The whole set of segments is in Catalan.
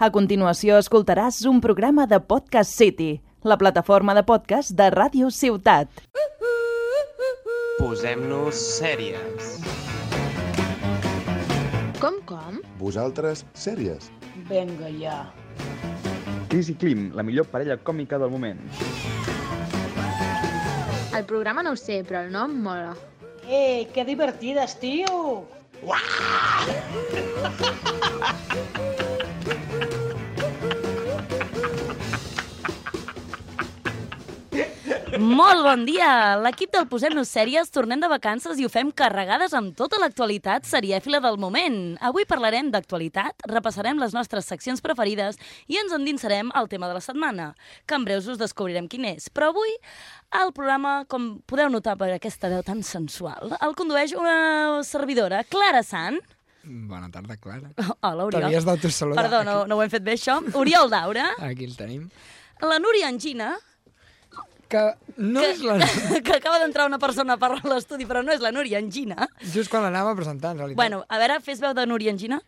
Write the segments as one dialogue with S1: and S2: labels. S1: A continuació escoltaràs un programa de Podcast City, la plataforma de podcast de Ràdio Ciutat.
S2: Posem-nos sèries.
S3: Com, com?
S4: Vosaltres, sèries.
S5: Venga ja.
S6: Cris i Klim, la millor parella còmica del moment.
S3: El programa no ho sé, però el nom mola.
S5: Ei, Eh, que divertides, tio!
S7: Molt bon dia! L'equip del Posem-nos Sèries tornem de vacances i ho fem carregades amb tota l'actualitat serièfila del moment. Avui parlarem d'actualitat, repassarem les nostres seccions preferides i ens endinsarem al tema de la setmana, que en breus us descobrirem quin és. Però avui el programa, com podeu notar per aquesta veu tan sensual, el condueix una servidora, Clara Sant.
S8: Bona tarda, Clara.
S7: Hola,
S8: T'havies
S7: Oriol.
S8: d'autosaludar.
S7: Perdó, no, no ho hem fet bé, això. Oriol Daura,
S8: Aquí el tenim.
S7: la Núria Angina,
S8: Que no és la...
S7: que acaba d'entrar una persona per l'estudi, però no és la Núria Angina.
S8: Just quan l'anava a presentar, en realitat.
S7: Bueno, a veure, fes veu de Núria Angina.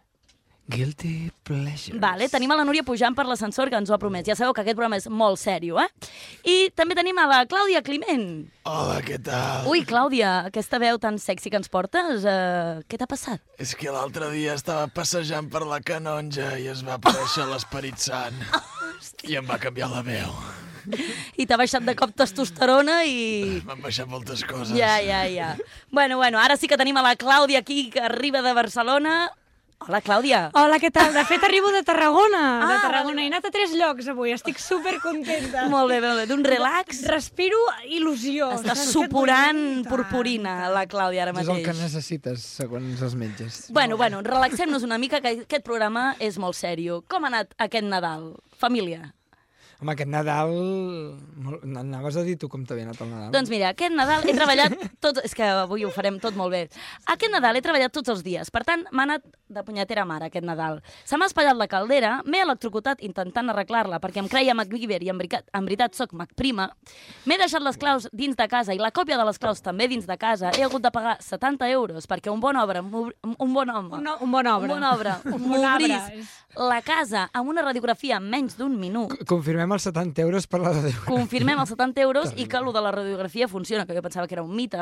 S8: Guilty Pleasures.
S7: Vale, tenim a la Núria pujant per l'ascensor, que ens ho ha promès. Ja sabeu que aquest programa és molt sèrio, eh? I també tenim a la Clàudia Climent.
S9: Hola, què tal?
S7: Ui, Clàudia, aquesta veu tan sexy que ens portes, eh, què t'ha passat?
S9: És que l'altre dia estava passejant per la canonja i es va aparèixer l'esperit sant. I em va canviar la veu.
S7: I t'ha baixat de cop testosterona i...
S9: M'han baixat moltes coses.
S7: Ja, ja, ja. Bueno, bueno, ara sí que tenim a la Clàudia aquí, que arriba de Barcelona. Hola, Clàudia.
S10: Hola, què tal? De fet, arribo de Tarragona. Ah, de
S7: Ah,
S10: Tarragona. He anat a tres llocs avui. Estic supercontenta.
S7: Molt bé, molt bé. D'un relax.
S10: Respiro il·lusió.
S7: Està
S10: Saps?
S7: suporant
S10: Tant,
S7: purpurina
S10: tant.
S7: la Clàudia ara
S8: És el
S7: mateix.
S8: que eh? necessites, segons els metges.
S7: Bueno, bueno, relaxem-nos una mica, que aquest programa és molt sèrio. Com ha anat aquest Nadal? Família.
S8: Home, aquest Nadal... molt- Anaves a dir tu com t'havia anat el Nadal.
S7: Doncs mira, aquest Nadal he treballat tots... És que avui ho farem tot molt bé. Aquest Nadal he treballat tots els dies, per tant, m'ha anat de punyetera mare aquest Nadal. Se m'ha espatllat la caldera, m'he electrocutat intentant arreglar-la perquè em creia MacGyver i en veritat, en veritat soc MacPrima. M'he deixat les claus dins de casa i la còpia de les claus també dins de casa. He hagut de pagar 70 euros perquè un bon obra, m'obri- un bon home...
S10: Un, no- un bon obra.
S7: Un bon obra.
S10: Un bon arbre.
S7: M'obrís la casa amb una radiografia en menys d'un minut.
S8: Confirmem els 70 euros per la de Déu.
S7: Confirmem els 70 euros i que allò de la radiografia funciona, que jo pensava que era un mite.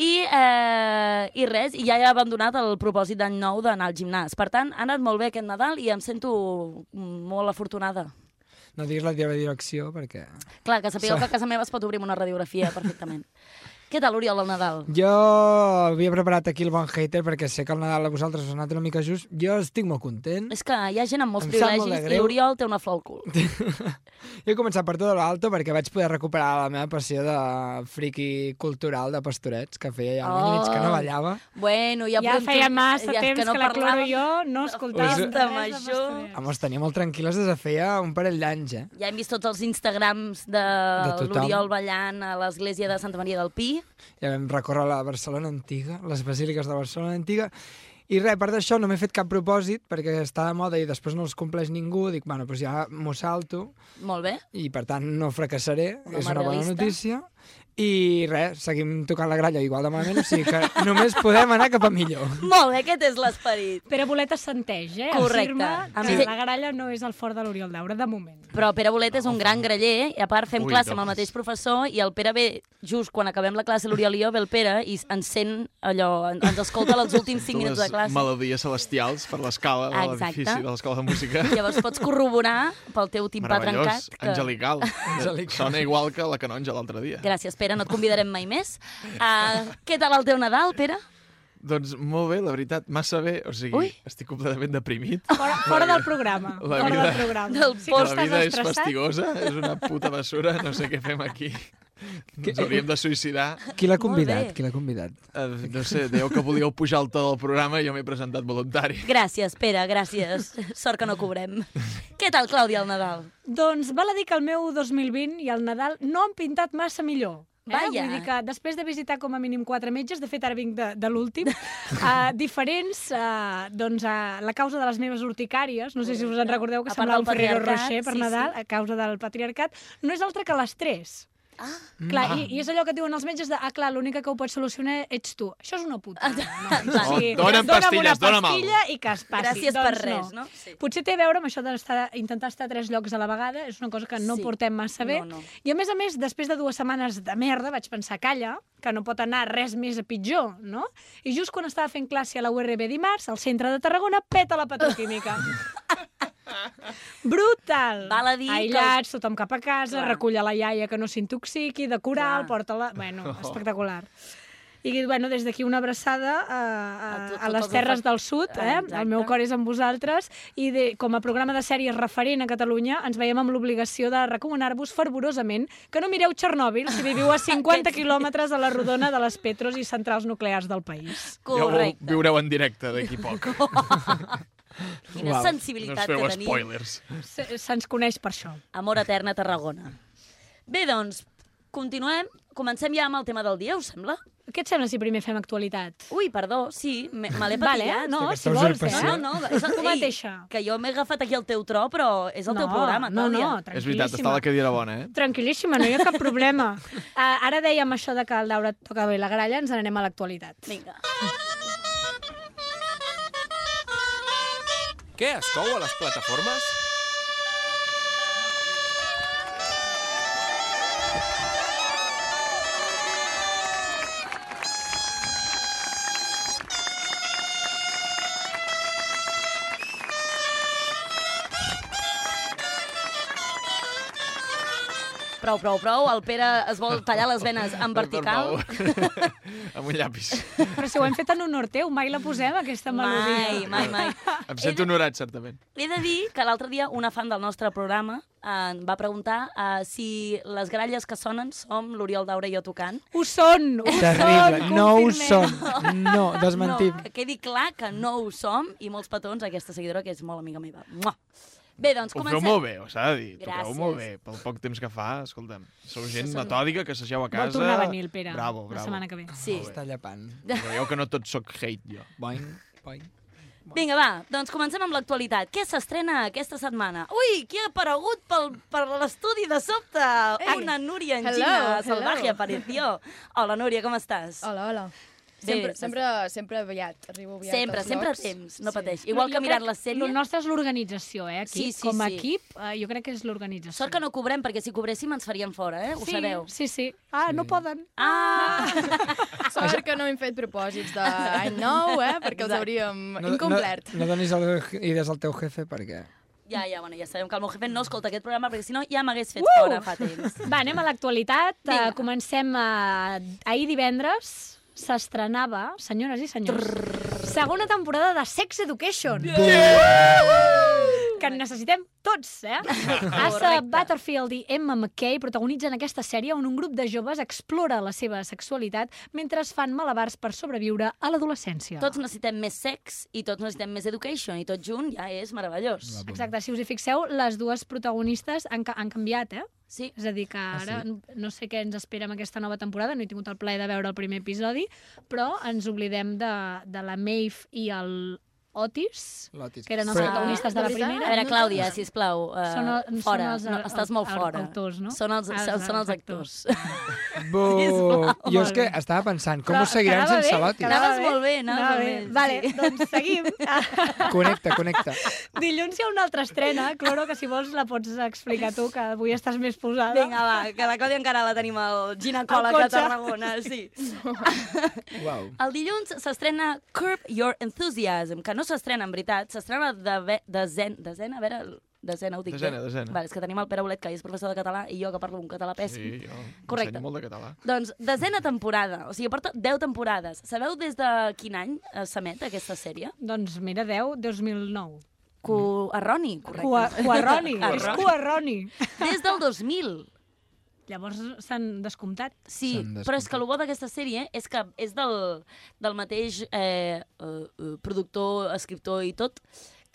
S7: I, eh, I res, i ja he abandonat el propòsit d'any nou d'anar al gimnàs. Per tant, ha anat molt bé aquest Nadal i em sento molt afortunada.
S8: No diguis la teva direcció, perquè...
S7: Clar, que sapigueu que a casa meva es pot obrir amb una radiografia perfectament. Què tal, Oriol, el Nadal?
S8: Jo havia preparat aquí el bon hater perquè sé que el Nadal a vosaltres us ha anat una mica just. Jo estic molt content.
S7: És que hi ha gent amb molts
S8: Em sap molt de
S7: privilegis i
S8: greu.
S7: l'Oriol té una flor al cul.
S8: Jo he començat per tot l'alto perquè vaig poder recuperar la meva passió de friki cultural de pastorets que feia ja un oh. mig que no
S7: Oh.
S8: ballava.
S7: Bueno, ja,
S10: Ja, ja
S7: podem
S10: feia
S7: fer-
S10: massa ja, temps que, no que la Cloro
S7: parlàvem.
S10: i jo no escoltàvem
S8: Us-
S10: res de
S7: major.
S10: Pastorets.
S8: Home, els tenia molt tranquil·les des de feia un parell d'anys, eh?
S7: Ja hem vist tots els Instagrams de,
S8: De tothom.
S7: l'Oriol ballant a l'església de Santa Maria del Pi.
S8: Ja vam recórrer la Barcelona Antiga, les basíliques de Barcelona Antiga, i res, a part d'això no m'he fet cap propòsit perquè està de moda i després no els compleix ningú, dic, bueno, doncs ja m'ho salto
S7: Molt bé.
S8: i per tant no fracassaré,
S7: Un home
S8: és una bona
S7: realista.
S8: notícia. I res, seguim tocant la gralla igual de malament, o sigui que només podem anar cap a millor.
S7: Molt bé, aquest és l'esperit.
S10: Pere Bolet assenteix, eh?
S7: Correcte.
S10: Afirma
S7: Sí.
S10: que la gralla no és el fort de l'Oriol Daura, de moment.
S7: Però Pere Bolet és un gran graller, i a part fem Ui, classe amb el mateix professor, i el Pere ve, just quan acabem la classe, l'Oriol i jo, ve el Pere i ens sent allò, en- ens escolta els últims 5 minuts de classe.
S9: melodies celestials per l'escala de
S7: Exacte.
S9: l'edifici de l'escola de música.
S7: Llavors pots corroborar pel teu timpà
S9: Meravellós,
S7: trencat.
S9: angelical. Sona igual que la canonja l'altre dia.
S7: Gràcies, Pere, no et convidarem mai més. Uh, què tal el teu Nadal, Pere?
S9: Doncs molt bé, la veritat, massa bé. O sigui,
S7: Ui.
S9: estic completament deprimit.
S10: Fora, fora del programa.
S9: La
S10: fora
S9: vida-
S10: del programa.
S7: Del
S10: Ah, sí que
S7: post
S9: La
S10: estàs
S9: vida és
S10: estressat.
S9: fastigosa, és una puta bessura, no sé què fem aquí. Ens hauríem de suïcidar.
S8: Qui l'ha
S7: Molt bé.
S8: convidat? Qui l'ha convidat?
S9: Eh, no sé, dèieu que volíeu pujar el to del programa i jo m'he presentat voluntari.
S7: Gràcies, Pere, gràcies. Sort que no cobrem. Què tal, Clàudia, el Nadal?
S10: Doncs val a dir que el meu 2020 i el Nadal no han pintat massa millor. Eh?
S7: Vaja.
S10: Vull dir que després de visitar com a mínim quatre metges, de fet ara vinc de, de l'últim, uh, diferents, uh, doncs uh, la causa de les meves urticàries, no sé si us en recordeu
S7: A
S10: que
S7: part del
S10: semblava un Ferrero
S7: patriarcat,
S10: Rocher per
S7: sí,
S10: Nadal,
S7: sí.
S10: a causa del patriarcat, no és altra que l'estrès. Clar,
S8: Ah. Mm.
S10: i, i és allò que et diuen els metges de, ah, clar, l'única que ho pots solucionar ets tu. Això és una puta.
S7: Ah,
S10: No, no.
S9: Oh, dona'm pastilles, dona'm
S10: una pastilla i que es passi.
S7: Gràcies
S10: doncs
S7: per res, no? Sí.
S10: Potser té a veure amb això d'intentar estar a tres llocs a la vegada, és una cosa que no
S7: Sí.
S10: sí. portem massa bé.
S7: No, no.
S10: I a més a més, després de dues setmanes de merda, vaig pensar, calla, que no pot anar res més a pitjor, no? I just quan estava fent classe a la URB dimarts, al centre de Tarragona, peta la petroquímica. Brutal!
S7: Val a dir que-
S10: Aïllats, tothom cap a casa,
S7: Clar.
S10: Clar. recull a la iaia que no s'intoxiqui, decorar,
S7: Clar.
S10: porta-la... Bueno, espectacular. I, bueno, des d'aquí una abraçada a, a, a,
S7: A
S10: a
S7: tot- tot
S10: les
S7: els
S10: Terres
S7: efect-
S10: del Sud, eh?
S7: Exacte.
S10: El meu cor és amb vosaltres. I de, com a programa de sèries referent a Catalunya, ens veiem amb l'obligació de recomanar-vos fervorosament que no mireu Txernòbil si viviu a 50 quilòmetres a la rodona de les Petros i centrals nuclears del país.
S9: Ja ho
S7: Correcte.
S9: viureu en directe d'aquí a poc.
S7: Quina
S9: No
S8: Uau.
S7: sensibilitat
S9: us feu
S7: que tenim.
S9: spoilers.
S10: Se- Se'ns coneix per això.
S7: Amor etern a Tarragona. Bé, doncs, continuem. Comencem ja amb el tema del dia, us sembla?
S10: Què et sembla si primer fem actualitat?
S7: Ui, perdó, sí, me, me l'he
S10: Vale,
S7: patillat.
S10: no,
S8: Aquesta
S10: si vols, eh?
S8: usurpació.
S7: No, no, és el,
S10: Tu mateixa.
S7: Que jo m'he agafat aquí el teu tro, però és el
S10: no,
S7: teu programa,
S10: no, no,
S7: Clàudia.
S10: tranquil·líssima.
S9: És veritat, està la cadira bona, eh?
S10: Tranquil·líssima, no hi ha cap problema. Uh, ara dèiem això de que el Daura et toca bé la gralla, ens n'anem a l'actualitat.
S7: Vinga.
S11: Què es cou a les plataformes?
S7: Prou, prou, prou. El Pere es vol tallar les venes en vertical.
S9: Amb un llapis.
S10: Però si ho hem fet en honor teu, mai la posem, aquesta
S7: Mai,
S10: melodia.
S7: mai, mai.
S9: Em sento honorat, certament.
S7: He de dir que l'altre dia una fan del nostre programa eh, em va preguntar eh, si les gralles que sonen som l'Oriol Daura i jo tocant.
S10: Ho són, ho
S8: Terrible.
S10: són,
S8: No ho
S10: confirmem.
S8: som. No, desmentim.
S7: No, que quedi clar que no ho som i molts petons a aquesta seguidora que és molt amiga meva. Mua. Bé, doncs
S9: Ho feu
S7: comencem.
S9: molt bé, ho s'ha de dir. Toqueu
S7: Gràcies.
S9: molt bé. Pel poc temps que fa, escolta'm, sou gent
S7: Això són-
S9: metòdica que s'asseu a casa.
S10: Vol tornar a venir el Pere
S9: Bravo,
S10: la
S9: bravo.
S10: setmana que ve.
S7: Sí.
S9: Molt bé.
S8: Està llepant.
S9: Veieu que no tot sóc hate, jo.
S8: Boing, boing.
S7: Vinga, va, doncs comencem amb l'actualitat. Què s'estrena aquesta setmana? Ui, qui ha aparegut pel, per l'estudi de sobte? Ei. Una Núria
S12: Hello,
S7: Engina,
S12: hello.
S7: salvaje aparició. Hola, Núria, com estàs?
S12: Hola, hola.
S7: Bé,
S12: Sempre,
S7: s'està-
S12: sempre, sempre aviat, arribo aviat
S7: sempre,
S12: als
S7: sempre a
S12: llocs.
S7: temps, no
S12: Sí.
S7: pateix. Igual que
S10: Jo
S7: mirant
S10: crec
S7: la sèrie,
S10: El nostre és l'organització, eh, aquí.
S7: Sí, sí,
S10: Com a
S7: sí.
S10: equip, eh, jo crec que és l'organització.
S7: sort que no cobrem, perquè si cobréssim ens farien fora, eh? Ho
S10: sí,
S7: sabeu.
S10: Sí, sí. Ah, no poden.
S7: Ah!
S12: Sort que no hem fet propòsits d'any nou, eh, perquè els hauríem incomplert.
S8: No, no donis el, idees al teu jefe perquè...
S7: Ja, ja, bueno, ja sabem que el meu jefe no escolta aquest programa, perquè si no ja m'hagués fet
S10: Uh!
S7: fora fa temps.
S10: Va, anem a l'actualitat.
S7: Vinga.
S10: Uh, comencem uh, ahir divendres s'estrenava, senyores i senyors, segona temporada de Sex Education. Que en necessitem tots, eh? Asa Butterfield i Emma McKay protagonitzen aquesta sèrie on un grup de joves explora la seva sexualitat mentre es fan malabars per sobreviure a l'adolescència.
S7: Tots necessitem més sex i tots necessitem més education i tot junt ja és meravellós.
S10: Exacte, si us hi fixeu, les dues protagonistes han, ca- han canviat, eh?
S7: Sí,
S10: És a dir, que ara n- no sé què ens espera amb aquesta nova temporada, no he tingut el plaer de veure el primer episodi, però ens oblidem de, de la Maeve i el Otis,
S8: L'Otis.
S10: que eren els
S8: Però-
S7: Ah,
S10: protagonistes de la
S12: De veritat?
S7: A
S10: primera.
S7: veure,
S12: No
S7: Clàudia,
S12: tenen.
S7: sisplau, uh,
S10: Són el-
S7: fora.
S10: són els-
S7: no,
S10: el-
S7: estàs molt
S10: el-
S7: fora.
S10: autors, no?
S7: Són els,
S10: Els-
S7: són els
S10: els
S7: actors.
S10: actors.
S8: Buh. Jo és
S10: Molt
S8: que
S10: bé.
S8: estava pensant, com
S10: Però
S8: ho seguiran
S10: quedava
S8: sense
S10: bé,
S8: l'Otis?
S10: quedava
S7: Anaves molt bé, anaves
S10: anava
S7: molt bé,
S10: Vale,
S7: sí.
S10: doncs seguim.
S8: Connecta, connecta.
S10: Dilluns hi ha una altra estrena, Cloro, que si vols la pots explicar tu, que avui estàs més posada.
S7: Vinga, va, que la Clàudia encara la tenim al
S10: Al
S7: ginecòleg de
S10: cotxe.
S7: Tarragona, sí.
S8: Uau.
S7: El dilluns s'estrena Curb Your Enthusiasm, que no s'estrena, en veritat, s'estrena de ve- dezen, desena, a veure, desena, ho dic
S9: Desena,
S7: bé?
S9: desena.
S7: Vale, és que tenim el Pere Bolet, que és professor de català, i jo que parlo un català pèssim.
S9: Sí, jo.
S7: Correcte.
S9: Ensenyo molt de català.
S7: Doncs desena temporada, o sigui, porta 10 temporades. Sabeu des de quin any eh, s'emet aquesta sèrie?
S10: Doncs mira, 10, 2009.
S7: Cu... Erroni, correcte.
S10: Cua, Cuarroni, és
S7: Erroni.
S10: Cuarroni.
S7: Des del 2000.
S10: Llavors s'han descomptat.
S7: Sí,
S8: S'han
S7: però és que el bo d'aquesta sèrie és que és del, del mateix eh, eh, eh, productor, escriptor i tot,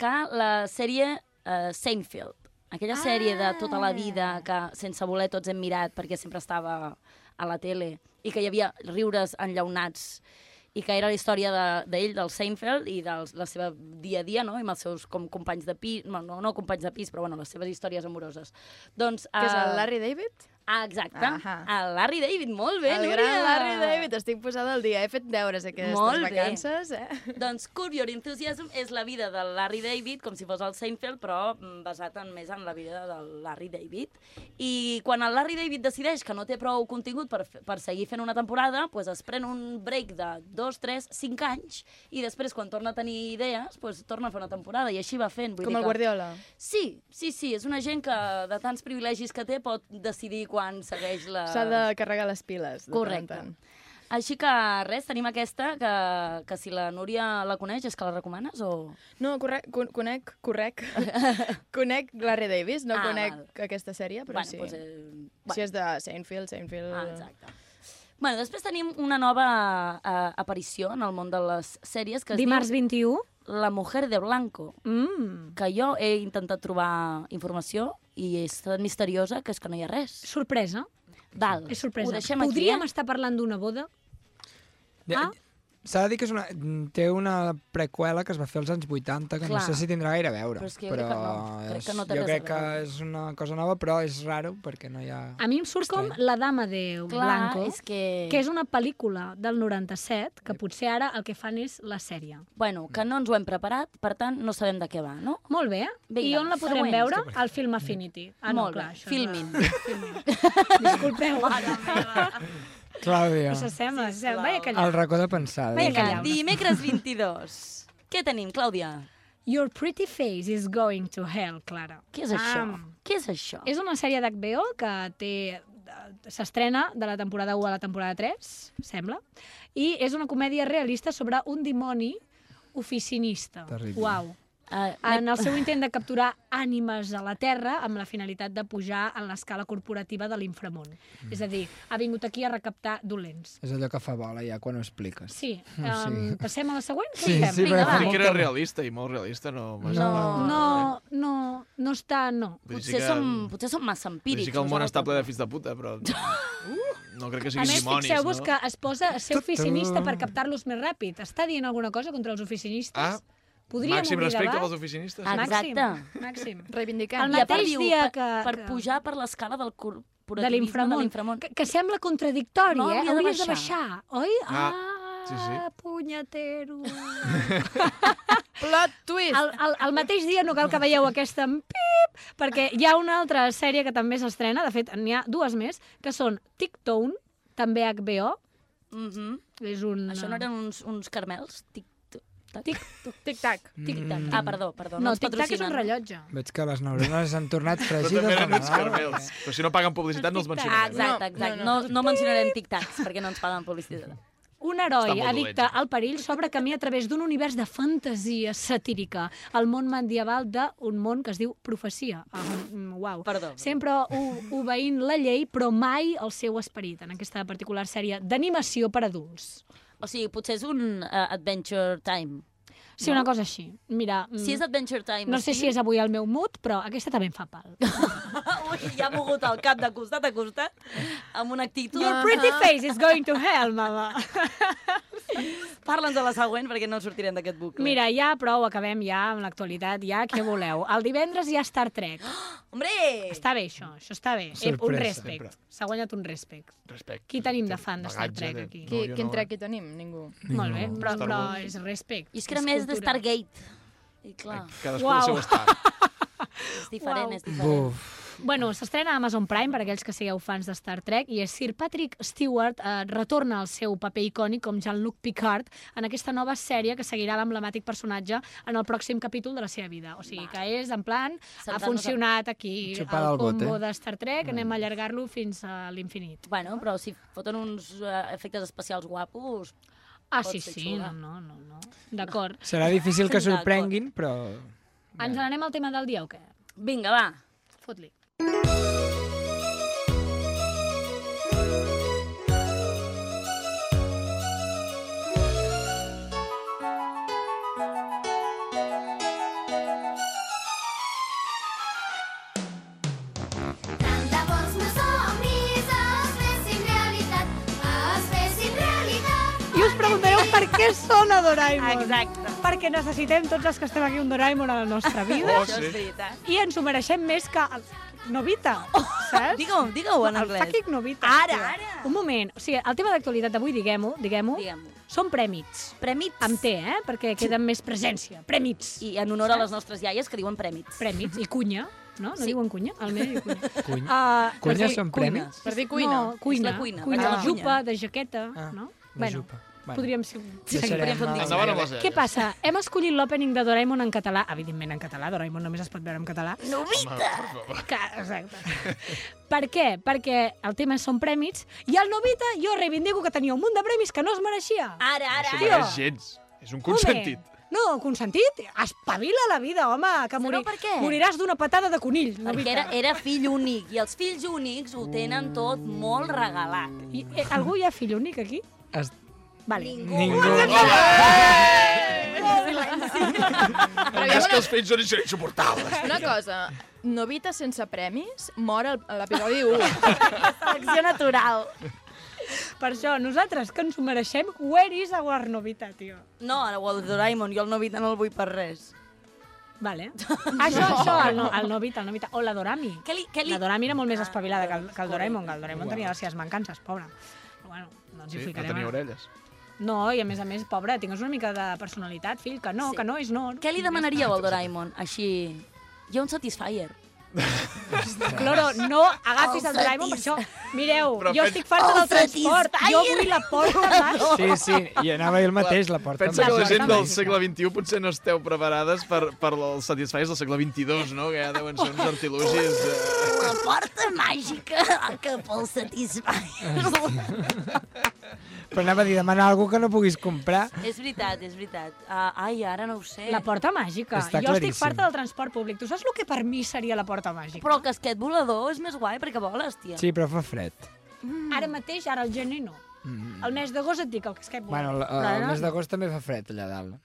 S7: que la sèrie eh, Seinfeld.
S12: Ah!
S7: Aquella sèrie de tota la vida que sense voler tots hem mirat perquè sempre estava a la tele i que hi havia riures enllaunats i que era la història de- d'ell, de, del Seinfeld, i del la seva dia a dia, no? I amb els seus com, companys de pis, no, no, no companys de pis, però bueno, les seves històries amoroses. Doncs,
S12: Que és
S7: eh,
S12: el Larry David?
S7: Ah, exacte.
S12: Ahà.
S7: El Larry David, molt bé,
S12: el
S7: Núria.
S12: gran Larry David, estic posada al dia. He fet deures aquestes
S7: Molt bé.
S12: vacances. Eh?
S7: Doncs Curb Your Enthusiasm és la vida del Larry David, com si fos el Seinfeld, però mm, basat en, més en la vida del Larry David. I quan el Larry David decideix que no té prou contingut per, f- per seguir fent una temporada, doncs es pren un break de 2, 3, 5 anys i després, quan torna a tenir idees, doncs torna a fer una temporada i així va fent. Vull
S12: Com
S7: dir
S12: el
S7: que...
S12: Guardiola.
S7: Sí, sí, sí, és una gent que de tants privilegis que té pot decidir quan segueix la...
S12: S'ha de carregar les piles. de tant en
S7: Correcte.
S12: tant.
S7: Així que res, tenim aquesta, que, que si la Núria la coneix, és que la recomanes o...?
S12: No, corre con conec, correc. conec Larry Davis, no
S7: Ah,
S12: conec
S7: val.
S12: aquesta sèrie, però
S7: Bueno,
S12: sí.
S7: doncs, eh,
S12: Si és de Seinfeld, Seinfeld... eh.
S7: Ah, exacte. Bueno, després tenim una nova eh, aparició en el món de les sèries que es
S10: Dimarts
S7: diu
S10: 21.
S7: La Mujer de Blanco,
S10: Mm.
S7: que jo he intentat trobar informació i és tan misteriosa que és que no hi ha res.
S10: Sorpresa.
S7: Val,
S10: És sorpresa.
S7: ho deixem
S10: Podríem
S7: aquí, eh?
S10: estar parlant d'una boda? Ah.
S8: S'ha de dir que és una, té una preqüela que es va fer als anys 80, que
S10: Clar.
S8: no sé si tindrà gaire a veure.
S10: Però és que jo crec que no. Crec que no té res
S8: jo
S10: a
S8: crec que
S10: veure.
S8: és una cosa nova, però és raro perquè no hi ha...
S10: A mi em surt com La dama de
S7: Clar,
S10: Blanco,
S7: és que-
S10: que és una pel·lícula del 97, que potser ara el que fan és la sèrie.
S7: Bueno, que no ens ho hem preparat, per tant, no sabem de què va, no?
S10: Molt bé. eh?
S7: Vinga,
S10: I on la podrem
S7: següent.
S10: veure? Al Film Affinity. Ah, no,
S7: Molt
S10: clar,
S7: bé,
S10: això
S7: Filmin.
S10: Era... Filmin. Disculpeu.
S8: Clàudia,
S10: S'assembla, s'assembla. Vaja callar.
S8: el racó de pensar.
S10: Vaja
S8: Déu meu.
S10: callar.
S7: Dimecres 22. Què tenim, Clàudia?
S10: Your pretty face is going to hell, Clara.
S7: Què és això?
S10: Am.
S7: Què és això?
S10: És una sèrie d'HBO que té eh, s'estrena de la temporada 1 a la temporada 3, sembla, i és una comèdia realista sobre un dimoni oficinista.
S7: Terrible.
S10: Uau.
S7: Uh,
S10: En el seu intent de capturar ànimes a la Terra amb la finalitat de pujar en l'escala corporativa de l'inframunt. Mm. És a dir, ha vingut aquí a recaptar dolents.
S8: És allò que fa bola ja quan ho expliques.
S10: Sí,
S8: Mm,
S10: um,
S8: sí.
S10: passem a la següent? Què
S8: Sí,
S10: fem?
S8: sí,
S10: Vinga,
S8: perquè
S10: va.
S8: fa
S9: Crec que
S8: molta-
S9: era realista i molt realista, no. m'ha semblat.
S10: No, no, no està, no.
S9: Vull dir Potser que- som-
S7: potser som massa
S9: Vull dir que el món està ple de fills de puta, però... No crec que
S10: A
S9: siguin
S10: més,
S9: dimonis, no?
S10: fixeu-vos que es posa a ser oficinista per captar-los més ràpid. Està dient alguna cosa contra els oficinistes?
S9: Ah,
S10: Podríem
S9: màxim
S10: obrir
S9: respecte
S10: debat?
S9: als oficinistes.
S10: Màxim, màxim.
S12: Reivindicant.
S10: El mateix dia
S7: per,
S10: que...
S7: Per
S10: que-
S7: pujar per l'escala del corporativisme
S10: de l'inframont, que, que sembla contradictori,
S7: No,
S10: eh?
S7: havia de
S10: Hauries de
S7: baixar.
S10: baixar, oi?
S9: Ah, sí, sí.
S10: Ah, punyetero.
S12: Plot twist!
S10: El, el, el mateix dia no cal que veieu aquesta en pip, perquè hi ha una altra sèrie que també s'estrena, de fet, n'hi ha dues més, que són Tic-Tone, també HBO,
S7: Mm -hmm.
S10: és un... eh,
S7: Això no eren uns, uns carmels? Tic, tic,
S10: Tic,
S12: Tic-tac.
S7: tic,
S8: Mm.
S7: ah, perdó, perdó.
S10: No,
S7: No, ens
S10: tic-tac és
S7: patrocinen.
S10: un rellotge.
S8: Veig que les neurones han tornat
S9: Però
S8: fregides
S9: també
S8: de
S9: eren uns
S8: Nadal.
S9: caramels. Però si no paguen publicitat no els
S7: Ah,
S9: mencionarem. eh?
S7: exacte, exacte. No, no, no. no mencionarem tic-tacs perquè no ens paguen publicitat.
S10: Un
S9: Està
S10: heroi
S9: molt
S10: addicte
S9: dolent.
S10: al perill s'obre camí a través d'un univers de fantasia satírica, el món medieval d'un món que es diu profecia. Uh, uau.
S7: Perdó.
S10: Sempre o- obeint la llei, però mai el seu esperit, en aquesta particular sèrie d'animació per adults.
S7: O sigui, potser és un uh, Adventure Time.
S10: Sí, una cosa així. Mira, mm,
S7: Si és Adventure Time...
S10: no sé si és avui el meu mood, però aquesta també em fa pal.
S7: Ui, ja ha mogut el cap de costat a costat amb una actitud...
S10: Your pretty face is going to hell, mama.
S7: Parla'ns de la següent perquè no sortirem d'aquest bucle.
S10: Mira, ja prou, acabem ja amb l'actualitat, ja, què voleu? El divendres hi ha Star Trek.
S7: Hombre!
S10: Està bé, això. Això està bé. Sorpresa,
S9: Sorpresa.
S10: un respect.
S9: Sempre.
S10: S'ha guanyat un respect.
S9: Respecte.
S10: Qui tenim de fan de Star
S9: Bagatge
S10: Trek
S9: de-
S10: aquí?
S12: Qui,
S9: jo
S12: quin
S9: no,
S12: trec hi tenim? Ningú.
S10: Molt bé, però,
S9: eh? Star
S10: però
S9: Wars.
S10: és respect.
S7: I és que era més de
S10: cultura.
S7: Stargate. I clar,
S9: Cadascú al seu
S10: Uau.
S9: estat.
S7: és diferent,
S10: Uau.
S7: és diferent.
S10: Bueno, s'estrena a Amazon Prime per aquells que sigueu fans de Star Trek i Sir Patrick Stewart eh, retorna al seu paper icònic com Jean-Luc Picard en aquesta nova sèrie que seguirà l'emblemàtic personatge en el pròxim capítol de la seva vida. O sigui que és, en plan, ha
S7: Centrar-nos en-
S10: funcionat aquí el
S8: Xupada al bot,
S10: combo
S8: eh?
S10: de Star Trek, anem a allargar-lo fins a l'infinit.
S7: Bueno, però si foten uns eh, efectes especials guapos...
S10: Ah,
S7: pot
S10: sí,
S7: ser
S10: sí,
S7: xula.
S10: no, no, no. no. D'acord.
S8: Serà difícil que
S7: D'acord.
S8: sorprenguin, però...
S10: Ens n'anem al tema del dia o què?
S7: Vinga, va.
S10: Fot-li.
S13: Tant de bons meus somnis es fessin realitat, es fessin realitat.
S10: I us preguntareu per què sona Doraemon.
S7: Exacte.
S10: perquè necessitem tots els que estem aquí un Doraemon a la nostra vida.
S7: Oh, sí. Això és veritat.
S10: I ens ho mereixem més que el Novita, saps?
S7: Digue-ho, Oh, digue-ho en anglès.
S10: El fucking Novita.
S7: Ara,
S10: tio. Un moment. O sigui, el tema d'actualitat d'avui, diguem-ho, diguem-ho, diguem són prèmits.
S7: Prèmits.
S10: Amb T, eh? Perquè queden més presència. Prèmits.
S7: I en honor a les nostres iaies que diuen prèmits.
S10: Prèmits i cunya. No? No
S7: Sí.
S10: diuen cunya? El meu diu cunya.
S8: Cuny.
S10: Ah, per
S8: Cunya
S10: dir-
S8: són
S10: cuina.
S8: premis?
S12: Per dir cuina.
S10: No, cuina.
S7: És la cuina.
S10: cuina.
S7: Vaig
S10: De
S7: a la cuina.
S10: jupa, de jaqueta,
S7: Ah,
S10: no?
S8: de jupa. Vale.
S10: Podríem ser...
S8: Sí, podríem fer un diccionari. Endavant amb les
S10: Què
S8: eres.
S10: passa? Hem escollit l'opening de Doraemon en català. Evidentment en català, Doraemon només es pot veure en català.
S7: Novita!
S10: Que, exacte. per què? Perquè el tema són prèmits i el Novita jo reivindico que tenia un munt de premis que no es mereixia.
S7: Ara, ara,
S10: Tio,
S14: No és gens. És un consentit.
S10: Home, no, consentit? Espavila la vida, home, que morir,
S7: per què?
S10: moriràs d'una patada de conill.
S7: Perquè
S10: Novita.
S7: era, era fill únic, i els fills únics ho tenen tot molt regalat.
S10: I, eh, algú hi ha fill únic aquí?
S8: Es...
S10: Vale.
S8: Ningú.
S14: És que els fills són insuportables.
S12: Una cosa, Novita sense premis mor al- a l'episodi 1.
S10: Selecció natural. Per això, nosaltres, que ens ho mereixem, where is our novita, tio?
S7: No, o el Doraemon, jo el Novita no el vull per res.
S10: Vale. Això, això, el, no, el novita, el novita. O la Dorami.
S7: Què li, què li... Ah.
S10: La Dorami era molt més espavilada que el, que el Doraemon, que el Doraemon tenia les seves mancances, pobra. Però bueno, no ens hi
S14: Sí, no
S10: ficarem.
S14: tenia
S10: ara.
S14: orelles.
S10: No, i a més a més, pobra, tingues una mica de personalitat, fill, que no,
S7: Sí.
S10: que no és no.
S7: Què li demanaríeu al Doraemon? Així... Jo un Satisfyer.
S10: Cloro, no agafis el Doraemon per això. Mireu,
S7: Però
S10: jo
S7: pen-
S10: estic farta del
S7: Oh,
S10: transport. Jo
S7: Satisfyer!
S10: vull la porta baixa.
S8: Sí, sí, i anava jo el mateix, la porta.
S14: Pensa que la
S8: baixa.
S14: gent del segle XXI potser no esteu preparades per, per els satisfais del segle XXII, no? Que ja deuen ser uns artilugis... Eh...
S7: La porta màgica cap al Satisfyer.
S8: Però anava a dir, demanar alguna que no puguis comprar.
S7: és veritat, és veritat. Uh, ai, ara no ho sé.
S10: La porta màgica.
S8: Està
S10: jo estic
S8: claríssim.
S10: farta del transport públic. Tu saps el que per mi seria la porta màgica?
S7: Però el casquet volador és més guai perquè voles, tia.
S8: Sí, però fa fred.
S10: Mm. Ara mateix, ara el gener no.
S8: Mm.
S10: El mes d'agost et dic el casquet
S8: Bueno,
S10: volador.
S8: el, el, el
S10: Però
S8: mes d'agost també fa fred allà dalt.